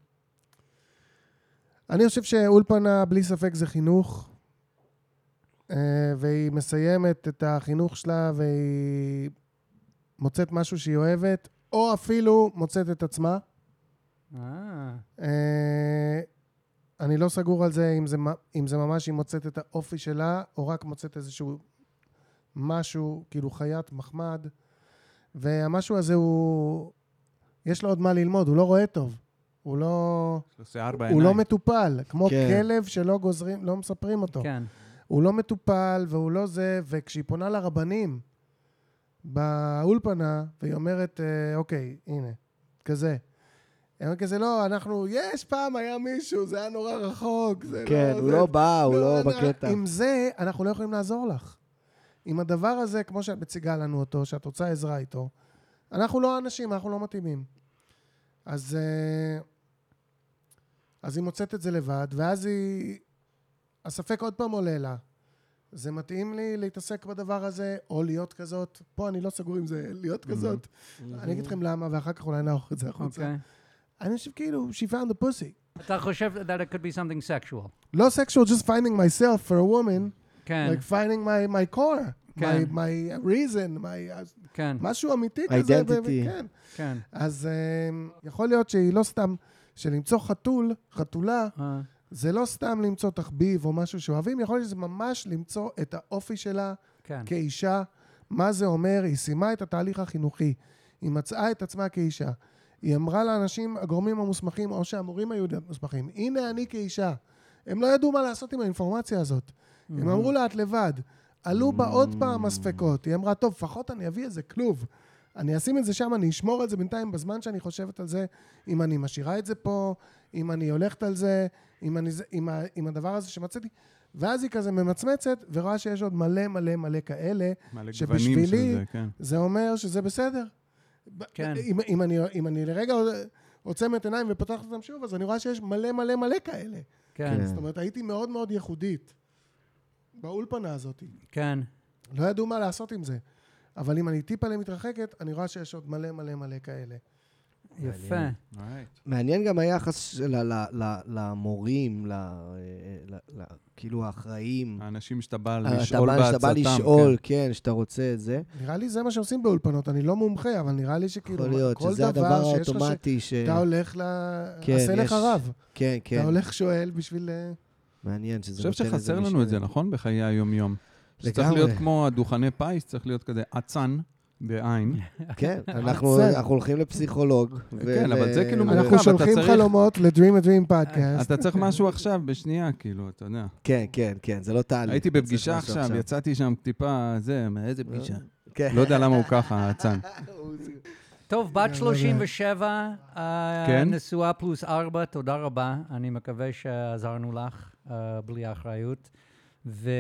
Speaker 1: אני חושב שאולפנה בלי ספק זה חינוך. אה, והיא מסיימת את החינוך שלה והיא מוצאת משהו שהיא אוהבת, או אפילו מוצאת את עצמה.
Speaker 2: אה,
Speaker 1: אה, אני לא סגור על זה אם, זה מ- אם זה ממש היא מוצאת את האופי שלה, או רק מוצאת איזשהו משהו, כאילו חיית מחמד. והמשהו הזה הוא... יש לו עוד מה ללמוד, הוא לא רואה טוב. הוא לא...
Speaker 3: יש לו שיער
Speaker 1: הוא
Speaker 3: בעיניים.
Speaker 1: לא מטופל, כמו
Speaker 6: כן.
Speaker 1: כלב שלא גוזרים, לא מספרים אותו.
Speaker 2: כן.
Speaker 1: הוא לא מטופל והוא לא זה, וכשהיא פונה לרבנים באולפנה, והיא אומרת, אה, אוקיי, הנה, כזה. היא אומרת כזה, לא, אנחנו, יש פעם היה מישהו, זה היה נורא רחוק. זה
Speaker 6: כן,
Speaker 1: זה,
Speaker 6: הוא לא בא, הוא לא
Speaker 1: אנחנו-
Speaker 6: בקטע.
Speaker 1: עם זה, אנחנו לא יכולים לעזור לך. עם הדבר הזה, כמו שאת מציגה לנו אותו, שאת רוצה עזרה איתו, אנחנו לא האנשים, אנחנו לא מתאימים. אז, אה, אז היא מוצאת את זה לבד, ואז היא... הספק עוד פעם עולה לה. זה מתאים לי להתעסק בדבר הזה, או להיות כזאת. פה אני לא סגור עם זה, להיות
Speaker 6: Mm-hmm.
Speaker 1: כזאת. אני אגיד לכם למה, ואחר כך אולי נערוך את זה החוצה.
Speaker 2: אוקיי.
Speaker 1: אני חושב כאילו, she found the pussy.
Speaker 2: אתה חושב that it could be something sexual.
Speaker 1: לא sexual, just finding myself for a woman.
Speaker 2: כן,
Speaker 1: like finding my, my core,
Speaker 2: כן.
Speaker 1: my, my reason, my,
Speaker 2: כן,
Speaker 1: משהו אמיתי כזה. ו-
Speaker 6: Identity.
Speaker 1: כן.
Speaker 2: כן.
Speaker 1: אז um, יכול להיות שהיא לא סתם, שלמצוא חתול, חתולה,
Speaker 2: אה,
Speaker 1: זה לא סתם למצוא תחביב או משהו שאוהבים, יכול להיות שזה ממש למצוא את האופי שלה
Speaker 2: כן.
Speaker 1: כאישה. מה זה אומר? היא סיימה את התהליך החינוכי, היא מצאה את עצמה כאישה. היא אמרה לאנשים, הגורמים המוסמכים, או שהמורים היו מוסמכים, הנה אני כאישה. הם לא ידעו מה לעשות עם האינפורמציה הזאת. הם אמרו לה, את לבד. עלו בה עוד פעם הספקות. היא אמרה, טוב, לפחות אני אביא איזה כלוב. אני אשים את זה שם, אני אשמור את זה בינתיים בזמן שאני חושבת על זה, אם אני משאירה את זה פה, אם אני הולכת על זה, אם, אני, זה- אם, ה, אם הדבר הזה שמצאתי. ואז היא כזה ממצמצת, ורואה שיש עוד מלא מלא מלא כאלה,
Speaker 3: מלא גוונים של
Speaker 1: שבשבילי
Speaker 3: זה, כן.
Speaker 1: זה אומר שזה בסדר.
Speaker 2: כן.
Speaker 1: אם, אם, אני, אם אני לרגע עוצמת עיניים ופותחת אותם שוב, אז אני רואה שיש מלא מלא מלא כאלה.
Speaker 2: כן,
Speaker 1: זאת אומרת, הייתי מאוד מאוד ייחודית באולפנה הזאת.
Speaker 2: כן.
Speaker 1: לא ידעו מה לעשות עם זה. אבל אם אני טיפה מתרחקת, אני רואה שיש עוד מלא מלא מלא כאלה.
Speaker 2: יפה.
Speaker 6: מעניין גם היחס שלה ל- ל- למורים, ל- אה, ל- ל- כאילו האחראים.
Speaker 3: האנשים שאתה בא
Speaker 6: אה, אתה
Speaker 3: לשאול
Speaker 6: בא-
Speaker 3: בעצתם.
Speaker 6: שאתה בא לשאול, כן, שאתה רוצה את זה.
Speaker 1: נראה לי זה מה שעושים באולפנות, אני לא מומחה, אבל נראה לי שכאילו,
Speaker 6: יכול להיות
Speaker 1: כאילו, כל
Speaker 6: שזה הדבר
Speaker 1: דבר שיש לך, ש-
Speaker 6: האוטומטי ש...
Speaker 1: אתה הולך ל...
Speaker 6: כן,
Speaker 1: עשה
Speaker 6: יש-
Speaker 1: לך רב.
Speaker 6: כן, כן.
Speaker 1: אתה הולך שואל בשביל... אה,
Speaker 6: מעניין שזה
Speaker 3: אני
Speaker 6: כן, נותן
Speaker 3: חושב
Speaker 6: איזה
Speaker 3: שחסר לנו את זה,
Speaker 6: משקל.
Speaker 3: נכון? בחיי היום-יום. שצריך
Speaker 6: לגמרי.
Speaker 3: להיות כמו הדוכני פיס, צריך להיות כזה אצן בעין.
Speaker 6: [laughs]
Speaker 1: [laughs]
Speaker 6: כן, אנחנו
Speaker 1: בסדר.
Speaker 6: אנחנו הולכים לפסיכולוג.
Speaker 3: כן, אבל זה כאילו
Speaker 6: ו-
Speaker 3: מורכב,
Speaker 1: אנחנו
Speaker 3: אתה
Speaker 1: שולחים
Speaker 3: צריך-
Speaker 1: חלומות ל-Dream a Dream podcast.
Speaker 3: אתה צריך משהו עכשיו, בשנייה, כאילו, אתה יודע.
Speaker 6: כן, כן, כן, זה לא תהליך.
Speaker 3: הייתי
Speaker 6: אתה צריך
Speaker 3: בפגישה
Speaker 6: משהו
Speaker 3: עכשיו, יצאתי שם טיפה, זה, מאיזה [laughs] פגישה?
Speaker 6: כן.
Speaker 3: לא יודע למה הוא ככה, האצן.
Speaker 2: טוב,
Speaker 6: אה, לא
Speaker 2: בת 37, אה,
Speaker 3: כן?
Speaker 2: נשואה פלוס 4, תודה רבה. אני מקווה שעזרנו לך אה, בלי אחריות. ו...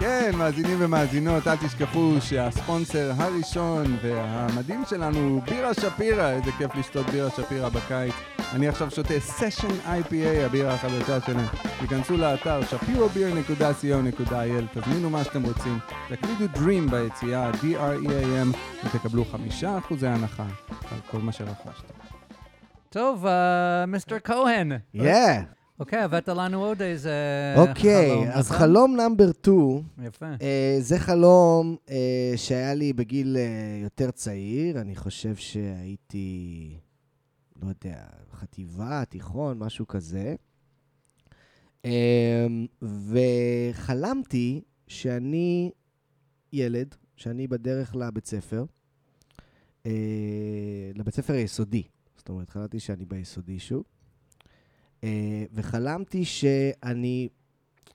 Speaker 3: כן, מאזינים ומאזינות, אל תשכחו שהספונסר הראשון והמדהים שלנו הוא בירה שפירא. איזה כיף לשתות בירה שפירא בקיץ. אני עכשיו שותה סשן IPA, הבירה החדשה שלהם. תיכנסו לאתר שפירוbeer.co.il, תזמינו מה שאתם רוצים, תקלידו Dream ביציאה, D-R-E-A-M, ותקבלו חמישה אחוזי הנחה על כל מה שרכשתם.
Speaker 2: טוב, אה, מיסטר כהן.
Speaker 6: Yeah.
Speaker 2: אוקיי, הבאת לנו עוד איזה
Speaker 1: אה,
Speaker 2: חלום.
Speaker 6: אוקיי, אז
Speaker 2: נכון?
Speaker 6: חלום אה, נאמבר 2,
Speaker 2: יפה.
Speaker 6: זה חלום אה, שהיה לי בגיל אה, יותר צעיר, אני חושב שהייתי, לא יודע, חטיבה, תיכון, משהו כזה. אה, וחלמתי שאני ילד, שאני בדרך לבית ספר, אה, לבית ספר היסודי. זאת אומרת, חלמתי שאני ביסודי שוב, אה, וחלמתי שאני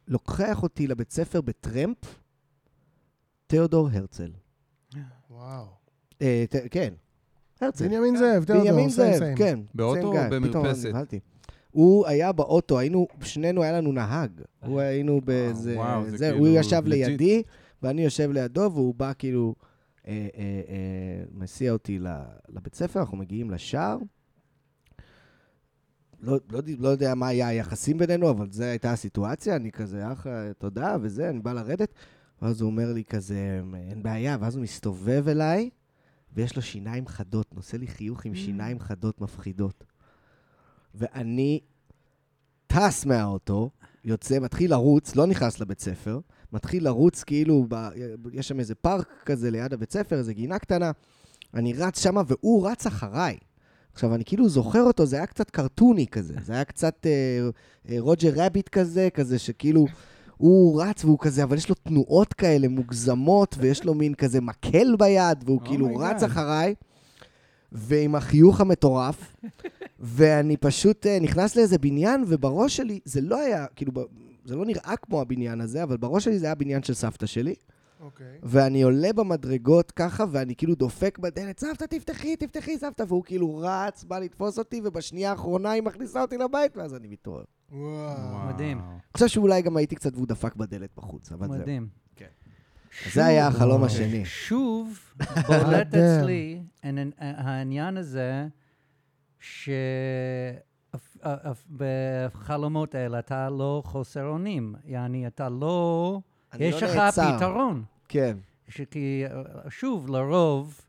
Speaker 6: לוקח אותי לבית ספר בטרמפ, תיאודור הרצל.
Speaker 1: וואו.
Speaker 6: אה, ת- כן, הרצל.
Speaker 1: בנימין זאב, תיאודור,
Speaker 6: בנימין
Speaker 1: סיים,
Speaker 6: זאב,
Speaker 1: סיים.
Speaker 6: כן.
Speaker 3: באוטו
Speaker 6: same
Speaker 3: או
Speaker 6: guy. פתאום
Speaker 3: במרפסת?
Speaker 6: נבהלתי. הוא היה באוטו, היינו, שנינו, היה לנו נהג. הוא היינו באיזה...
Speaker 3: אה. וואו, זה
Speaker 6: זה,
Speaker 3: כאילו
Speaker 6: הוא ישב
Speaker 3: legit.
Speaker 6: לידי, ואני יושב לידו, והוא בא כאילו, אה, אה, אה, מסיע אותי ל- לבית ספר, אנחנו מגיעים לשער. לא, לא, יודע- לא יודע מה היה היחסים בינינו, אבל זו הייתה הסיטואציה, אני כזה, אחלה, תודה, וזה, אני בא לרדת. ואז הוא אומר לי כזה, אין בעיה, ואז הוא מסתובב אליי, ויש לו שיניים
Speaker 3: Mm.
Speaker 6: חדות, נושא לי חיוך עם שיניים חדות מפחידות. ואני טס מהאוטו, יוצא, מתחיל לרוץ, לא נכנס לבית ספר, מתחיל לרוץ כאילו, ב... יש שם איזה פארק כזה ליד הבית ספר, איזה גינה קטנה. אני רץ שמה, והוא רץ אחריי. עכשיו, אני כאילו זוכר אותו, זה היה קצת קרטוני כזה, זה היה קצת אה, אה, רוג'ר רביט כזה, כזה שכאילו, הוא רץ והוא כזה, אבל יש לו תנועות כאלה מוגזמות, ויש לו מין כזה מקל ביד, והוא
Speaker 3: Oh my
Speaker 6: כאילו רץ
Speaker 3: God.
Speaker 6: אחריי, ועם החיוך המטורף, ואני פשוט אה, נכנס לאיזה בניין, ובראש שלי, זה לא היה, כאילו, ב- זה לא נראה כמו הבניין הזה, אבל בראש שלי זה היה בניין של סבתא שלי.
Speaker 1: אוקיי.
Speaker 6: ואני עולה במדרגות ככה, ואני כאילו דופק בדלת, סבתא, תפתחי, תפתחי, סבתא, והוא כאילו רץ, בא לתפוס אותי, ובשנייה האחרונה היא מכניסה אותי לבית, ואז אני מתעורר.
Speaker 1: וואו.
Speaker 2: מדהים.
Speaker 6: אני חושב שאולי גם הייתי קצת והוא דפק בדלת בחוץ, אבל זהו.
Speaker 2: מדהים.
Speaker 6: כן.
Speaker 2: שוב-
Speaker 6: זה היה החלום השני. [laughs]
Speaker 2: שוב בולט
Speaker 1: אדם.
Speaker 2: אצלי העניין- העניין הזה שבחלומות האלה אתה לא חוסר אונים, יעני אתה לא,
Speaker 6: אני
Speaker 2: יש
Speaker 6: לא
Speaker 2: לך
Speaker 6: נעצר.
Speaker 2: פתרון.
Speaker 6: כן.
Speaker 2: ש- כי אה, שוב, לרוב,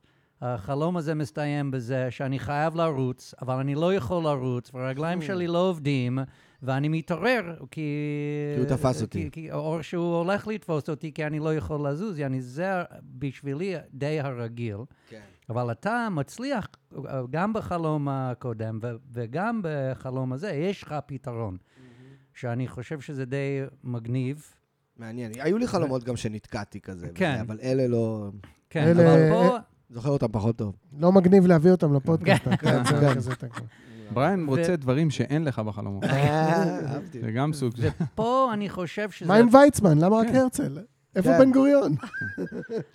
Speaker 2: החלום הזה מסתיים בזה שאני חייב לרוץ, אבל אני לא יכול לרוץ,
Speaker 6: Hmm.
Speaker 2: והרגליים שלי לא עובדים, ואני מתעורר, כי... אה,
Speaker 6: כי הוא תפס אותי.
Speaker 2: כי- כי- או שהוא הולך לתפוס אותי, כי אני לא יכול לזוז. יעני, זה בשבילי די הרגיל.
Speaker 6: כן.
Speaker 2: אבל אתה מצליח אה, גם בחלום הקודם ו- וגם בחלום הזה, יש לך פתרון.
Speaker 6: Mm-hmm.
Speaker 2: שאני חושב שזה די מגניב.
Speaker 6: מעניין. היו לי חלומות גם שנתקעתי כזה, וזה,
Speaker 2: כן.
Speaker 6: אבל אלה לא...
Speaker 2: כן,
Speaker 1: אלה-
Speaker 2: אבל פה...
Speaker 6: זוכר אותם פחות
Speaker 3: [laughs]
Speaker 6: טוב.
Speaker 1: לא מגניב להביא אותם לפודקאסט. אתה
Speaker 6: כן,
Speaker 1: כזה,
Speaker 6: כן.
Speaker 1: כזה, אתה כזה.
Speaker 3: בריין
Speaker 2: ו-
Speaker 3: רוצה דברים שאין לך בחלומות.
Speaker 6: אה, אהבתי.
Speaker 3: זה גם סוג של...
Speaker 2: פה אני חושב שזה...
Speaker 1: מה עם ויצמן? למה רק הרצל? איפה
Speaker 6: כן.
Speaker 1: בן גוריון?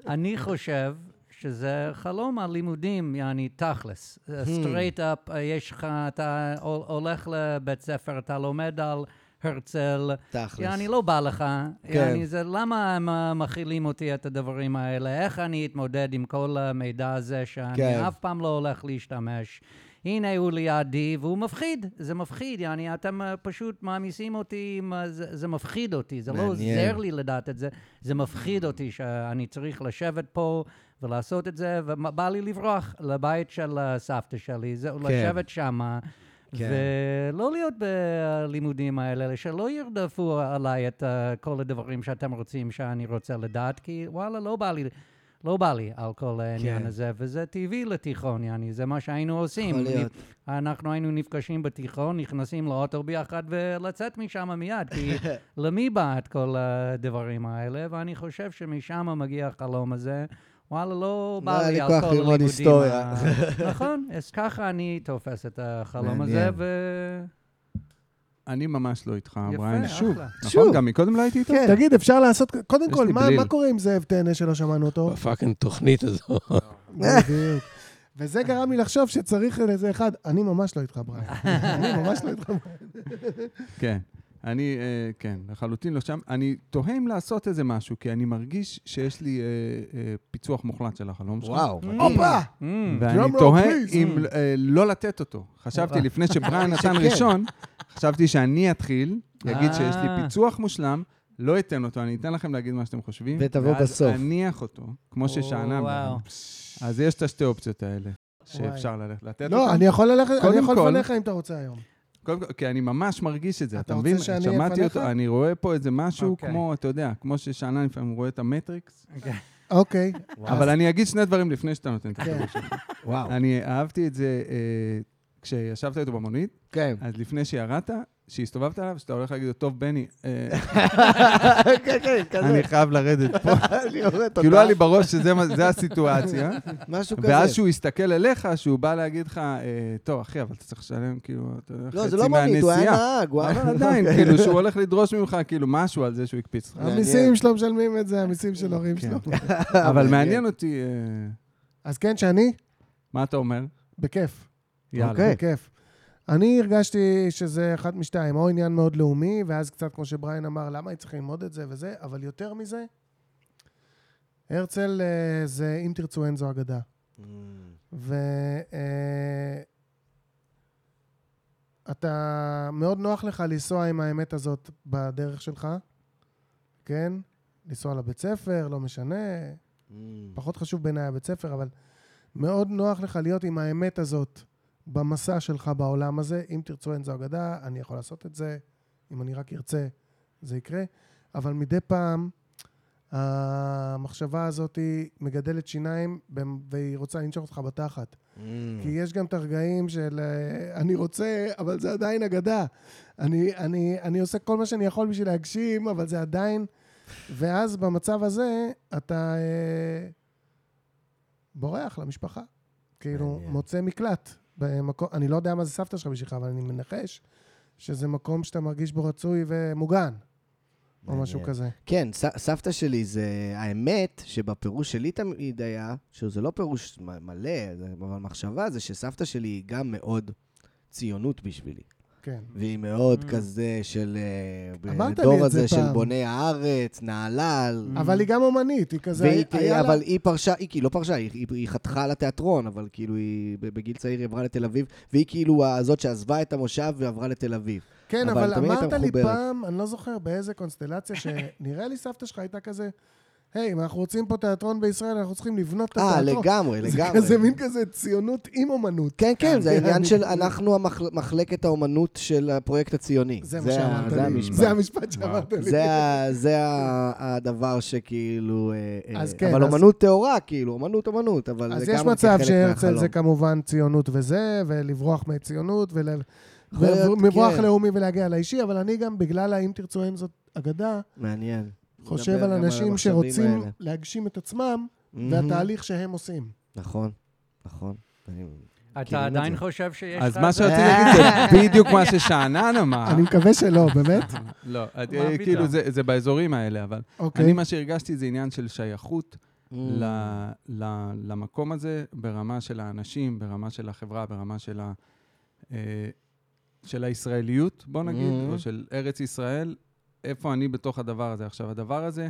Speaker 2: אני חושב שזה חלום הלימודים, יעני תכלס. סטרייט אפ, יש לך, אתה הול- הולך לבית ספר, אתה לומד על הרצל,
Speaker 6: [laughs] תכלס.
Speaker 2: יעני לא בא לך.
Speaker 6: כן.
Speaker 2: יעני זה, למה הם אה, מכילים אותי את הדברים האלה? איך אני אתמודד עם כל המידע הזה שאני
Speaker 6: כן.
Speaker 2: אף פעם לא הולך להשתמש? הנה הוא לידי, והוא מפחיד, זה מפחיד, יעני, אתם אה, פשוט מעמיסים אותי, עם ה- זה, זה מפחיד אותי, זה לא
Speaker 6: מעניין.
Speaker 2: עוזר לי לדעת את זה, זה מפחיד אותי שאני צריך לשבת פה ולעשות את זה, ובא לי לברוח לבית של אה, סבתא שלי, זה, לשבת שמה.
Speaker 6: כן.
Speaker 2: ולא להיות בלימודים האלה, שלא ירדפו עליי את אה, כל הדברים שאתם רוצים שאני רוצה לדעת, כי וואלה, לא בא לי, לא בא לי על כל העניין
Speaker 6: כן.
Speaker 2: הזה, וזה טבעי לתיכון, יעני, זה מה שהיינו עושים.
Speaker 6: יכול להיות.
Speaker 2: אנחנו היינו נפגשים בתיכון, נכנסים לאוטו ביחד ולצאת משם מיד,
Speaker 6: [laughs]
Speaker 2: כי למי בא את כל הדברים האלה? ואני חושב שמשם מגיע החלום הזה. וואלה, לא
Speaker 6: לא
Speaker 2: בא
Speaker 6: היה
Speaker 2: לי
Speaker 6: לי
Speaker 2: על כל
Speaker 6: כוח
Speaker 2: הלימודים.
Speaker 6: ללמוד היסטוריה. [laughs]
Speaker 2: ה- נכון, אז ככה אני תופס את החלום הזה,
Speaker 6: מעניין.
Speaker 2: ו...
Speaker 3: אני ממש לא איתך,
Speaker 2: יפה,
Speaker 3: בריין.
Speaker 2: שוב.
Speaker 3: נכון?
Speaker 6: שוב.
Speaker 3: גם מקודם לא הייתי איתו?
Speaker 1: כן. תגיד, אפשר לעשות... קודם
Speaker 3: יש
Speaker 1: כל,
Speaker 3: לי
Speaker 1: מה-
Speaker 3: בליל.
Speaker 1: מה קורה עם זאב טנא שלא שמענו אותו? לא,
Speaker 7: בפאקינג תוכנית הזו.
Speaker 1: בדיוק. וזה גרם לי לחשוב שצריך איזה אחד, אני ממש לא איתך, בריין. אני ממש לא
Speaker 3: [laughs]
Speaker 1: איתך.
Speaker 3: כן. אני, אה, כן, לחלוטין לא שם. אני תוהה אם לעשות איזה משהו, כי אני מרגיש שיש לי אה, אה, פיצוח מוחלט של החלום שלך.
Speaker 6: וואו.
Speaker 1: הופה!
Speaker 2: Mm.
Speaker 3: ואני
Speaker 1: drum roll,
Speaker 3: תוהה
Speaker 1: please.
Speaker 3: אם אה, לא לתת אותו. חשבתי לפני שבריין נתן
Speaker 6: שכן.
Speaker 3: ראשון, חשבתי שאני אתחיל, יגיד שיש לי
Speaker 2: אה.
Speaker 3: פיצוח מושלם, לא אתן אותו, אני אתן לכם להגיד מה שאתם חושבים.
Speaker 6: ותבוא בסוף.
Speaker 3: ואז אניח אותו, כמו ששענה.
Speaker 2: וואו.
Speaker 3: בריין. אז יש את השתי אופציות האלה, שאפשר ללכת לתת אותן.
Speaker 1: לא, אני יכול ללכת, אני
Speaker 3: קודם
Speaker 1: יכול
Speaker 3: כל-
Speaker 1: לפניך אם אתה רוצה היום.
Speaker 3: קודם כל, כי אני ממש מרגיש את זה,
Speaker 1: אתה
Speaker 3: אתה
Speaker 1: רוצה
Speaker 3: מבין?
Speaker 1: שאני אהיה
Speaker 3: שמעתי
Speaker 1: לפניך?
Speaker 3: אותו, אני רואה פה איזה משהו
Speaker 2: אוקיי.
Speaker 3: כמו, אתה יודע, כמו ששאלה לפעמים רואה את המטריקס,
Speaker 1: אוקיי.
Speaker 3: [laughs] אבל אני אגיד שני דברים לפני שאתה נותן את
Speaker 1: כן.
Speaker 3: התשובה שלך.
Speaker 6: וואו.
Speaker 3: אני אהבתי את זה אה, כשישבת איתו במונית, [laughs]
Speaker 6: כן.
Speaker 3: אז לפני שירדת, שהסתובבת עליו, שאתה הולך להגיד לו, טוב, בני, אה,
Speaker 6: כן, כן, כזה.
Speaker 3: אני חייב לרדת פה.
Speaker 6: אני יורד, תודה.
Speaker 3: כאילו היה לי בראש שזה מה- זה הסיטואציה,
Speaker 6: משהו כזה.
Speaker 3: ואז שהוא הסתכל אליך, שהוא בא להגיד לך, אה, טוב, אחי, אבל אתה צריך לשלם, כאילו, אתה יודע,
Speaker 6: לא, זה
Speaker 3: חצי
Speaker 6: לא מונית, הוא היה
Speaker 3: מהנסיעה."
Speaker 6: נהג, הוא היה
Speaker 3: אבל
Speaker 6: נהג. [laughs]
Speaker 3: עדיין, כאילו, שהוא הולך לדרוש ממך, כאילו, משהו על זה שהוא הקפיץ לך.
Speaker 6: מעניין.
Speaker 1: המיסים שלו משלמים את זה, המיסים של ההורים
Speaker 3: כן.
Speaker 1: שלו.
Speaker 3: אבל מעניין אותי, אה,
Speaker 1: אז כן, שאני,
Speaker 3: מה אתה אומר?
Speaker 1: בכיף.
Speaker 3: יאללה.
Speaker 6: אוקיי.
Speaker 1: בכיף. אני הרגשתי שזה אחת משתיים, או עניין מאוד לאומי, ואז קצת, כמו שבריין אמר, למה היא צריכה ללמוד את זה וזה, אבל יותר מזה, הרצל אה, זה אם תרצו אין זו אגדה.
Speaker 6: Mm.
Speaker 1: אה, ואתה מאוד נוח לך לנסוע עם האמת הזאת בדרך שלך, כן? לנסוע לבית ספר, לא משנה,
Speaker 6: Mm.
Speaker 1: פחות חשוב בעיניי הבית ספר, אבל מאוד נוח לך להיות עם האמת הזאת במסע שלך בעולם הזה. אם תרצו אין זו אגדה, אני יכול לעשות את זה. אם אני רק ארצה, זה יקרה. אבל מדי פעם המחשבה הזאת היא מגדלת שיניים במ- והיא רוצה לנשוך אותך בתחת.
Speaker 6: Mm.
Speaker 1: כי יש גם את הרגעים של אה, אני רוצה, אבל זה עדיין אגדה. אני, אני, אני עושה כל מה שאני יכול בשביל להגשים, אבל זה עדיין... ואז במצב הזה אתה אה, בורח למשפחה. כאילו,
Speaker 7: מעניין.
Speaker 1: מוצא מקלט. במקום, אני לא יודע מה זה סבתא שלך בשבילך, אבל אני מנחש שזה מקום שאתה מרגיש בו רצוי ומוגן, או משהו
Speaker 7: מעניין.
Speaker 1: כזה.
Speaker 6: כן, ס- סבתא שלי זה... האמת שבפירוש שלי תמיד היה, שזה לא פירוש מ- מלא, זה- אבל מחשבה זה שסבתא שלי היא גם מאוד ציונות בשבילי.
Speaker 1: כן.
Speaker 6: והיא מאוד כזה של... אה, ב-
Speaker 1: אמרת לי
Speaker 6: דור
Speaker 1: את זה
Speaker 6: הזה של
Speaker 1: פעם. Mm.
Speaker 6: בוני הארץ, נהלל.
Speaker 1: אבל היא גם אומנית, היא כזה...
Speaker 6: והיא,
Speaker 1: היה לה-
Speaker 6: אבל היא פרשה, היא כאילו לא פרשה, היא, היא, היא חתכה לתיאטרון, אבל כאילו היא בגיל צעיר היא עברה לתל אביב, והיא כאילו הזאת שעזבה את המושב ועברה לתל אביב.
Speaker 1: כן,
Speaker 6: אבל
Speaker 1: אבל
Speaker 6: תמיד הייתה
Speaker 1: אמרת לי
Speaker 6: מחוברת.
Speaker 1: פעם, אני לא זוכר באיזה קונסטלציה, שנראה לי סבתא שלך הייתה כזה, היי, אם אנחנו רוצים פה תיאטרון בישראל, אנחנו צריכים לבנות את
Speaker 6: אה,
Speaker 1: התיאטרון.
Speaker 6: לגמרי, לגמרי.
Speaker 1: זה כזה מין כזה ציונות עם אומנות.
Speaker 6: כן, כן, זה העניין
Speaker 1: אני-
Speaker 6: של אנחנו המחל- מחלקת האומנות של הפרויקט הציוני.
Speaker 1: זה מה שאמרת
Speaker 6: ה-
Speaker 1: לי.
Speaker 6: המשפט.
Speaker 1: זה המשפט שאמרת לי.
Speaker 6: זה ה- זה ה- הדבר שכאילו... אה, אה,
Speaker 1: אז כן,
Speaker 6: אבל
Speaker 1: אז-
Speaker 6: אומנות טהורה, כאילו, אומנות אומנות, אבל
Speaker 1: אז
Speaker 6: זה
Speaker 1: יש
Speaker 6: גם
Speaker 1: מצב
Speaker 6: כחלק
Speaker 1: שהרצל
Speaker 6: מהחלום.
Speaker 1: זה כמובן ציונות וזה, ולברוח מציונות, ול-
Speaker 6: יכול להיות,
Speaker 1: ומברוח
Speaker 6: כן.
Speaker 1: לאומי ולהגיע לאישי, אבל אני גם, בגלל האם תרצו אין זאת אגדה,
Speaker 6: מעניין.
Speaker 1: חושב
Speaker 6: נדבר
Speaker 1: על
Speaker 6: גם על
Speaker 1: אנשים
Speaker 6: המחשבים
Speaker 1: שרוצים
Speaker 6: האלה.
Speaker 1: להגשים את עצמם,
Speaker 6: מהמם.
Speaker 1: והתהליך שהם עושים.
Speaker 6: נכון, נכון. אני-
Speaker 2: אתה
Speaker 6: מכירים את
Speaker 2: עדיין
Speaker 6: זה.
Speaker 2: חושב שיש לך...
Speaker 3: אז מה שרציתי להגיד זה
Speaker 6: [laughs]
Speaker 3: בדיוק מה ששאנן
Speaker 6: אה.
Speaker 3: אמר.
Speaker 1: אני מקווה שלא, באמת.
Speaker 3: לא, את-
Speaker 2: מה
Speaker 3: אה,
Speaker 2: פתאום?
Speaker 3: כאילו זה זה באזורים האלה, אבל
Speaker 1: אוקיי.
Speaker 3: אני, מה שהרגשתי זה עניין של שייכות ל,
Speaker 6: Mm.
Speaker 3: ל, למקום הזה, ברמה של האנשים, ברמה של החברה, ברמה של, ה, אה, של הישראליות, בוא נגיד,
Speaker 6: Mhm.
Speaker 3: או של ארץ ישראל, איפה אני בתוך הדבר הזה. עכשיו, הדבר הזה,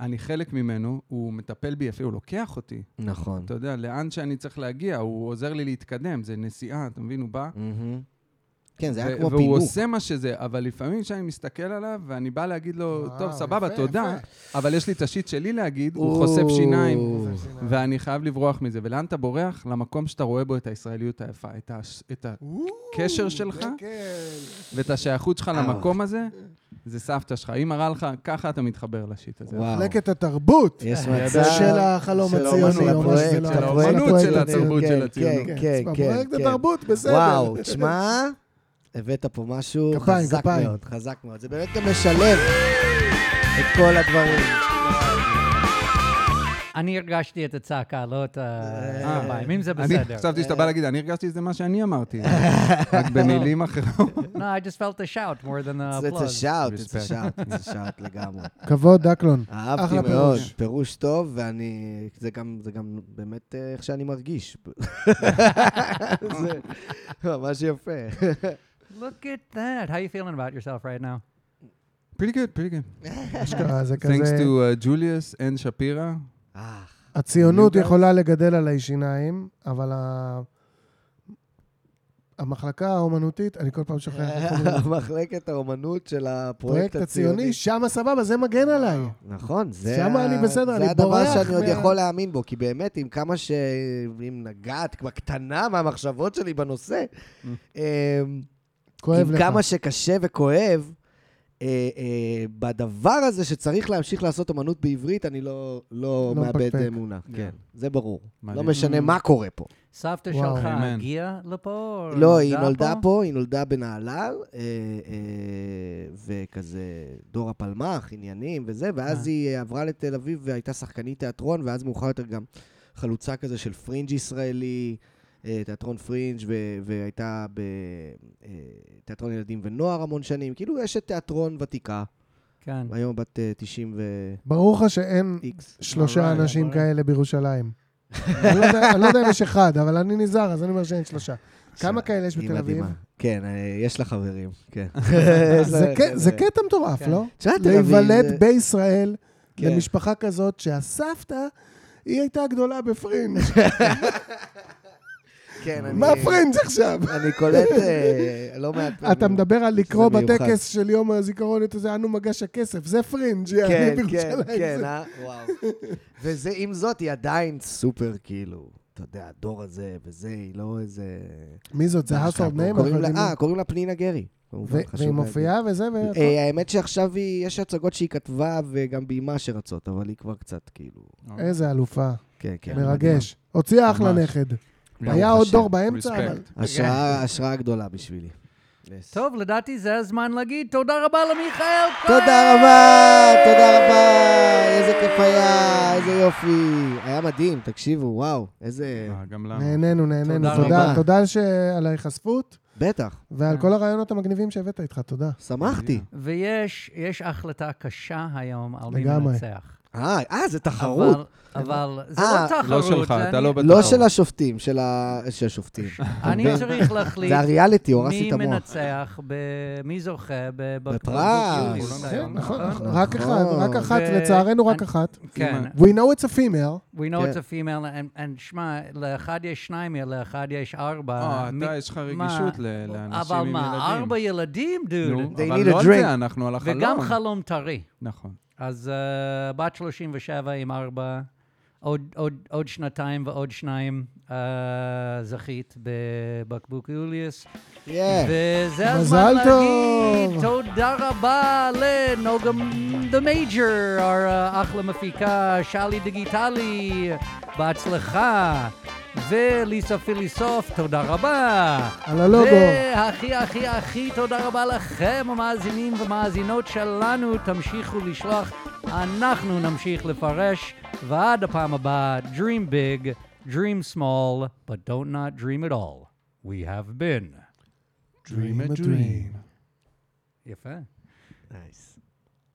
Speaker 3: אני חלק ממנו, הוא מטפל בי יפה, הוא לוקח אותי.
Speaker 6: נכון.
Speaker 3: אתה יודע, לאן שאני צריך להגיע, הוא עוזר לי להתקדם, זה נסיעה, אתה מבין? הוא בא,
Speaker 6: מהמם. כן, זה היה
Speaker 3: ו-
Speaker 6: כמו
Speaker 3: והוא
Speaker 6: פינוק.
Speaker 3: עושה מה שזה, אבל לפעמים כשאני מסתכל עליו, ואני בא להגיד לו,
Speaker 1: וואו,
Speaker 3: טוב, סבבה,
Speaker 1: יפה,
Speaker 3: תודה,
Speaker 1: יפה.
Speaker 3: אבל יש לי את השיט שלי להגיד, הוא
Speaker 6: או.
Speaker 3: חושף שיניים,
Speaker 6: הוא
Speaker 3: ואני חייב לברוח מזה. ולאן אתה בורח? למקום שאתה רואה בו את הישראליות היפה, את הש- את הקשר שלך
Speaker 1: זה כן.
Speaker 3: ואת השייכות שלך
Speaker 6: אה.
Speaker 3: למקום הזה, זה סבתא שלך. היא מראה לך, ככה אתה מתחבר לשיט הזה.
Speaker 6: וואו.
Speaker 1: מחלקת התרבות
Speaker 6: אה, יש
Speaker 1: של
Speaker 6: מצב...
Speaker 1: החלום
Speaker 6: של
Speaker 1: הציוני,
Speaker 6: האומנות,
Speaker 1: או מה שזה
Speaker 6: הפרויקט,
Speaker 1: לא,
Speaker 6: של
Speaker 1: הפרויקט הפרויקט
Speaker 3: האומנות, של
Speaker 1: הציוני.
Speaker 3: התרבות. של
Speaker 6: כן,
Speaker 3: הציונות.
Speaker 6: כן,
Speaker 1: כן,
Speaker 6: כן, כן,
Speaker 1: בפרויקט
Speaker 6: כן.
Speaker 1: התרבות, בסדר.
Speaker 6: וואו, תשמע, הבאת פה משהו
Speaker 1: כפיים,
Speaker 6: חזק
Speaker 1: כפיים.
Speaker 6: מאוד, חזק מאוד. זה באמת גם משלב את כל הדברים.
Speaker 2: אני הרגשתי את הצעקה, לא את
Speaker 3: אה,
Speaker 2: הכפיים, אם זה
Speaker 3: אני
Speaker 2: בסדר.
Speaker 3: חשבתי שאתה בא להגיד, אני הרגשתי שזה מה שאני
Speaker 6: [laughs]
Speaker 3: אמרתי, רק במילים אחרות. [laughs]
Speaker 2: No, I just felt the shout more than the
Speaker 6: זה it's a
Speaker 2: applause.
Speaker 6: shout, it's
Speaker 3: Respect.
Speaker 6: a shout, it's a shout לגמרי.
Speaker 1: כבוד, דקלון. [laughs]
Speaker 6: אהבתי
Speaker 1: אחלה
Speaker 6: מאוד,
Speaker 1: פירוש.
Speaker 6: פירוש טוב, ואני... זה גם, זה גם באמת אה, איך שאני
Speaker 1: [laughs]
Speaker 6: מרגיש. [laughs] זה ממש יפה. [laughs]
Speaker 2: Look at that. How you feeling about yourself right now?
Speaker 3: pretty good, pretty good.
Speaker 1: אשכרה, זה
Speaker 3: Thanks
Speaker 1: כזה...
Speaker 3: to uh, Julius and Shapira.
Speaker 6: אה,
Speaker 1: הציונות
Speaker 3: You guys?
Speaker 1: יכולה לגדל עלי שיניים, אבל ה- המחלקה האומנותית, אני כל פעם שוכח איך
Speaker 6: [laughs]
Speaker 1: אומרים.
Speaker 6: מחלקת האומנות של הפרויקט
Speaker 1: הפרויקט הציוני,
Speaker 6: הציוני.
Speaker 1: שמה סבבה, זה מגן עליי.
Speaker 6: נכון, זה
Speaker 1: שמה
Speaker 6: ה-
Speaker 1: אני בסדר, אני
Speaker 6: זה הדבר
Speaker 1: בורח
Speaker 6: שאני עוד
Speaker 1: מה-
Speaker 6: יכול להאמין בו, כי באמת, עם כמה ש... אם נגעת בקטנה מהמחשבות שלי
Speaker 1: [laughs]
Speaker 6: בנושא, אמ,
Speaker 1: כואב
Speaker 6: עם
Speaker 1: לך.
Speaker 6: כמה שקשה וכואב, אה, אה, בדבר הזה שצריך להמשיך לעשות אמנות בעברית, אני לא, לא,
Speaker 1: לא
Speaker 6: מאבד
Speaker 1: מפקפק.
Speaker 6: אמונה.
Speaker 3: Yeah.
Speaker 6: כן, זה ברור.
Speaker 3: מדהים.
Speaker 6: לא משנה מה קורה פה.
Speaker 2: סבתא
Speaker 1: וואו.
Speaker 2: שלך
Speaker 3: Amen.
Speaker 2: הגיעה לפה? או
Speaker 6: לא, היא נולדה פה, היא נולדה בנהלל, אה, אה, וכזה דור הפלמ"ח, עניינים וזה, ואז
Speaker 2: אה.
Speaker 6: היא עברה לתל אביב והייתה שחקנית תיאטרון, ואז מאוחר יותר גם חלוצה כזה של פרינג' ישראלי, אה, תיאטרון פרינג', ו- והייתה בתיאטרון ילדים ונוער המון שנים, כאילו אשת תיאטרון ותיקה,
Speaker 2: כן.
Speaker 6: היום בת אה, 90 ו...
Speaker 1: ברור לך שאין
Speaker 6: איקס.
Speaker 1: שלושה
Speaker 3: Alright,
Speaker 1: אנשים
Speaker 3: alright.
Speaker 1: כאלה בירושלים. אני לא יודע- אני לא יודע אם יש אחד, אבל אני נזהר, אז אני אומר שאין שלושה. כמה כאלה יש
Speaker 6: היא
Speaker 1: בתל אביב?
Speaker 6: מדהימה. כן, אה, יש לה חברים, כן.
Speaker 1: [laughs]
Speaker 6: [laughs] אה,
Speaker 1: זה ק- זה קטע מטורף,
Speaker 2: כן.
Speaker 1: לא?
Speaker 6: תשמע, תל אביב
Speaker 1: להיוולד
Speaker 6: זה-
Speaker 1: בישראל
Speaker 6: כן.
Speaker 1: למשפחה כזאת שהסבתא, היא הייתה גדולה
Speaker 6: [laughs]
Speaker 1: בפרינג'.
Speaker 6: כן, אני-
Speaker 1: מה פרינג' עכשיו?
Speaker 6: אני קולט אה, לא מעט פעמים.
Speaker 1: אתה מדבר על לקרוא
Speaker 6: זה מיוחד.
Speaker 1: בטקס של יום הזיכרון את זה אנו מגש הכסף, זה פרינג', יעני,
Speaker 6: כן, כן,
Speaker 1: בירושלים.
Speaker 6: כן,
Speaker 1: זה-
Speaker 6: אה? וואו. וזה, עם זאת, היא עדיין סופר, כאילו, אתה יודע, הדור הזה וזה, היא לא איזה...
Speaker 1: מי זאת? זה
Speaker 6: מה יש לך
Speaker 1: household
Speaker 6: פה?
Speaker 1: name?
Speaker 6: קוראים
Speaker 1: אנחנו
Speaker 6: לה-
Speaker 1: יודעים מי-
Speaker 6: אה, קוראים לה פנינה גרי.
Speaker 1: ו-
Speaker 6: כמובן, חשוב
Speaker 1: והיא
Speaker 6: להגיד.
Speaker 1: מופיעה וזה, ו...
Speaker 6: אה, האמת שעכשיו היא- יש הצגות שהיא כתבה וגם ביימה שרצות, אבל היא כבר קצת כאילו...
Speaker 1: איזה אלופה,
Speaker 6: כן, כן.
Speaker 1: מרגש. הוציאה אחלה
Speaker 3: ממש.
Speaker 1: נכד.
Speaker 3: לא,
Speaker 6: ברוך
Speaker 1: היה עוד
Speaker 6: השם.
Speaker 1: דור באמצע,
Speaker 3: Respect.
Speaker 1: אבל...
Speaker 6: השראה, השראה גדולה בשבילי. Yes.
Speaker 2: טוב, לדעתי זה הזמן להגיד תודה רבה למיכאל כהן!
Speaker 6: תודה רבה, תודה רבה, איזה כיף היה, איזה יופי. היה מדהים, תקשיבו, וואו, איזה...
Speaker 3: אה, גם לנו.
Speaker 1: נהנינו, נהנינו.
Speaker 2: תודה
Speaker 1: תודה,
Speaker 6: רבה.
Speaker 1: תודה ש- על ההיחשפות
Speaker 6: בטח,
Speaker 1: ועל כל הרעיונות המגניבים שהבאת איתך, תודה.
Speaker 6: שמחתי.
Speaker 2: ויש יש החלטה קשה היום על מי
Speaker 1: לגמרי.
Speaker 2: מנצח.
Speaker 6: אה, אה, זה תחרות.
Speaker 2: אבל, אבל זה
Speaker 6: אה,
Speaker 2: לא תחרות.
Speaker 3: לא שלך,
Speaker 2: זה
Speaker 3: אתה
Speaker 2: אני-
Speaker 3: לא בטח.
Speaker 6: לא של השופטים, של ה- של השופטים.
Speaker 2: אני צריך להחליט
Speaker 6: זה הריאליטי, הורסתי
Speaker 2: מי
Speaker 6: את המוח.
Speaker 2: מנצח, ב- מי זוכה ב-
Speaker 6: בפרס.
Speaker 2: יורו,
Speaker 1: כן, נכון,
Speaker 2: נכון?
Speaker 1: רק אחד, רק אחת,
Speaker 2: ו-
Speaker 1: לצערנו רק
Speaker 2: אני-
Speaker 1: אחת.
Speaker 2: כן,
Speaker 1: We know it's a female.
Speaker 2: we know it's
Speaker 6: כן.
Speaker 2: a female, and- and שמע, לאחד יש שניים, לאחד יש ארבע.
Speaker 3: אה,
Speaker 2: מי-
Speaker 3: אתה, יש לך
Speaker 2: מה?
Speaker 3: רגישות ל- לאנשים עם ילדים.
Speaker 2: אבל מה, ארבע ילדים,
Speaker 3: נו,
Speaker 2: דוד.
Speaker 6: They
Speaker 3: אבל
Speaker 6: need a
Speaker 3: לא על
Speaker 6: drink.
Speaker 3: זה, אנחנו על החלום.
Speaker 2: וגם חלום טרי.
Speaker 3: נכון.
Speaker 2: אז uh, בת 37 עם ארבע, עוד, עוד, עוד שנתיים ועוד שניים uh, זכית בבקבוק יוליוס.
Speaker 6: כן.
Speaker 2: וזה הזמן
Speaker 1: אה, מזל
Speaker 2: להגיד
Speaker 1: טוב.
Speaker 2: תודה רבה לנוגה דה מייג'ר, אה, אחלה מפיקה, שלי דיגיטלי, בהצלחה. וליסה פיליסוף, תודה רבה.
Speaker 1: על הלוגו.
Speaker 2: והכי הכי הכי תודה רבה לכם, המאזינים והמאזינות שלנו, תמשיכו לשלוח, אנחנו נמשיך לפרש, ועד הפעם הבאה, Dream big, dream small, but don't not dream at all. We have been.
Speaker 1: Dream a dream.
Speaker 2: יפה.
Speaker 6: Nice.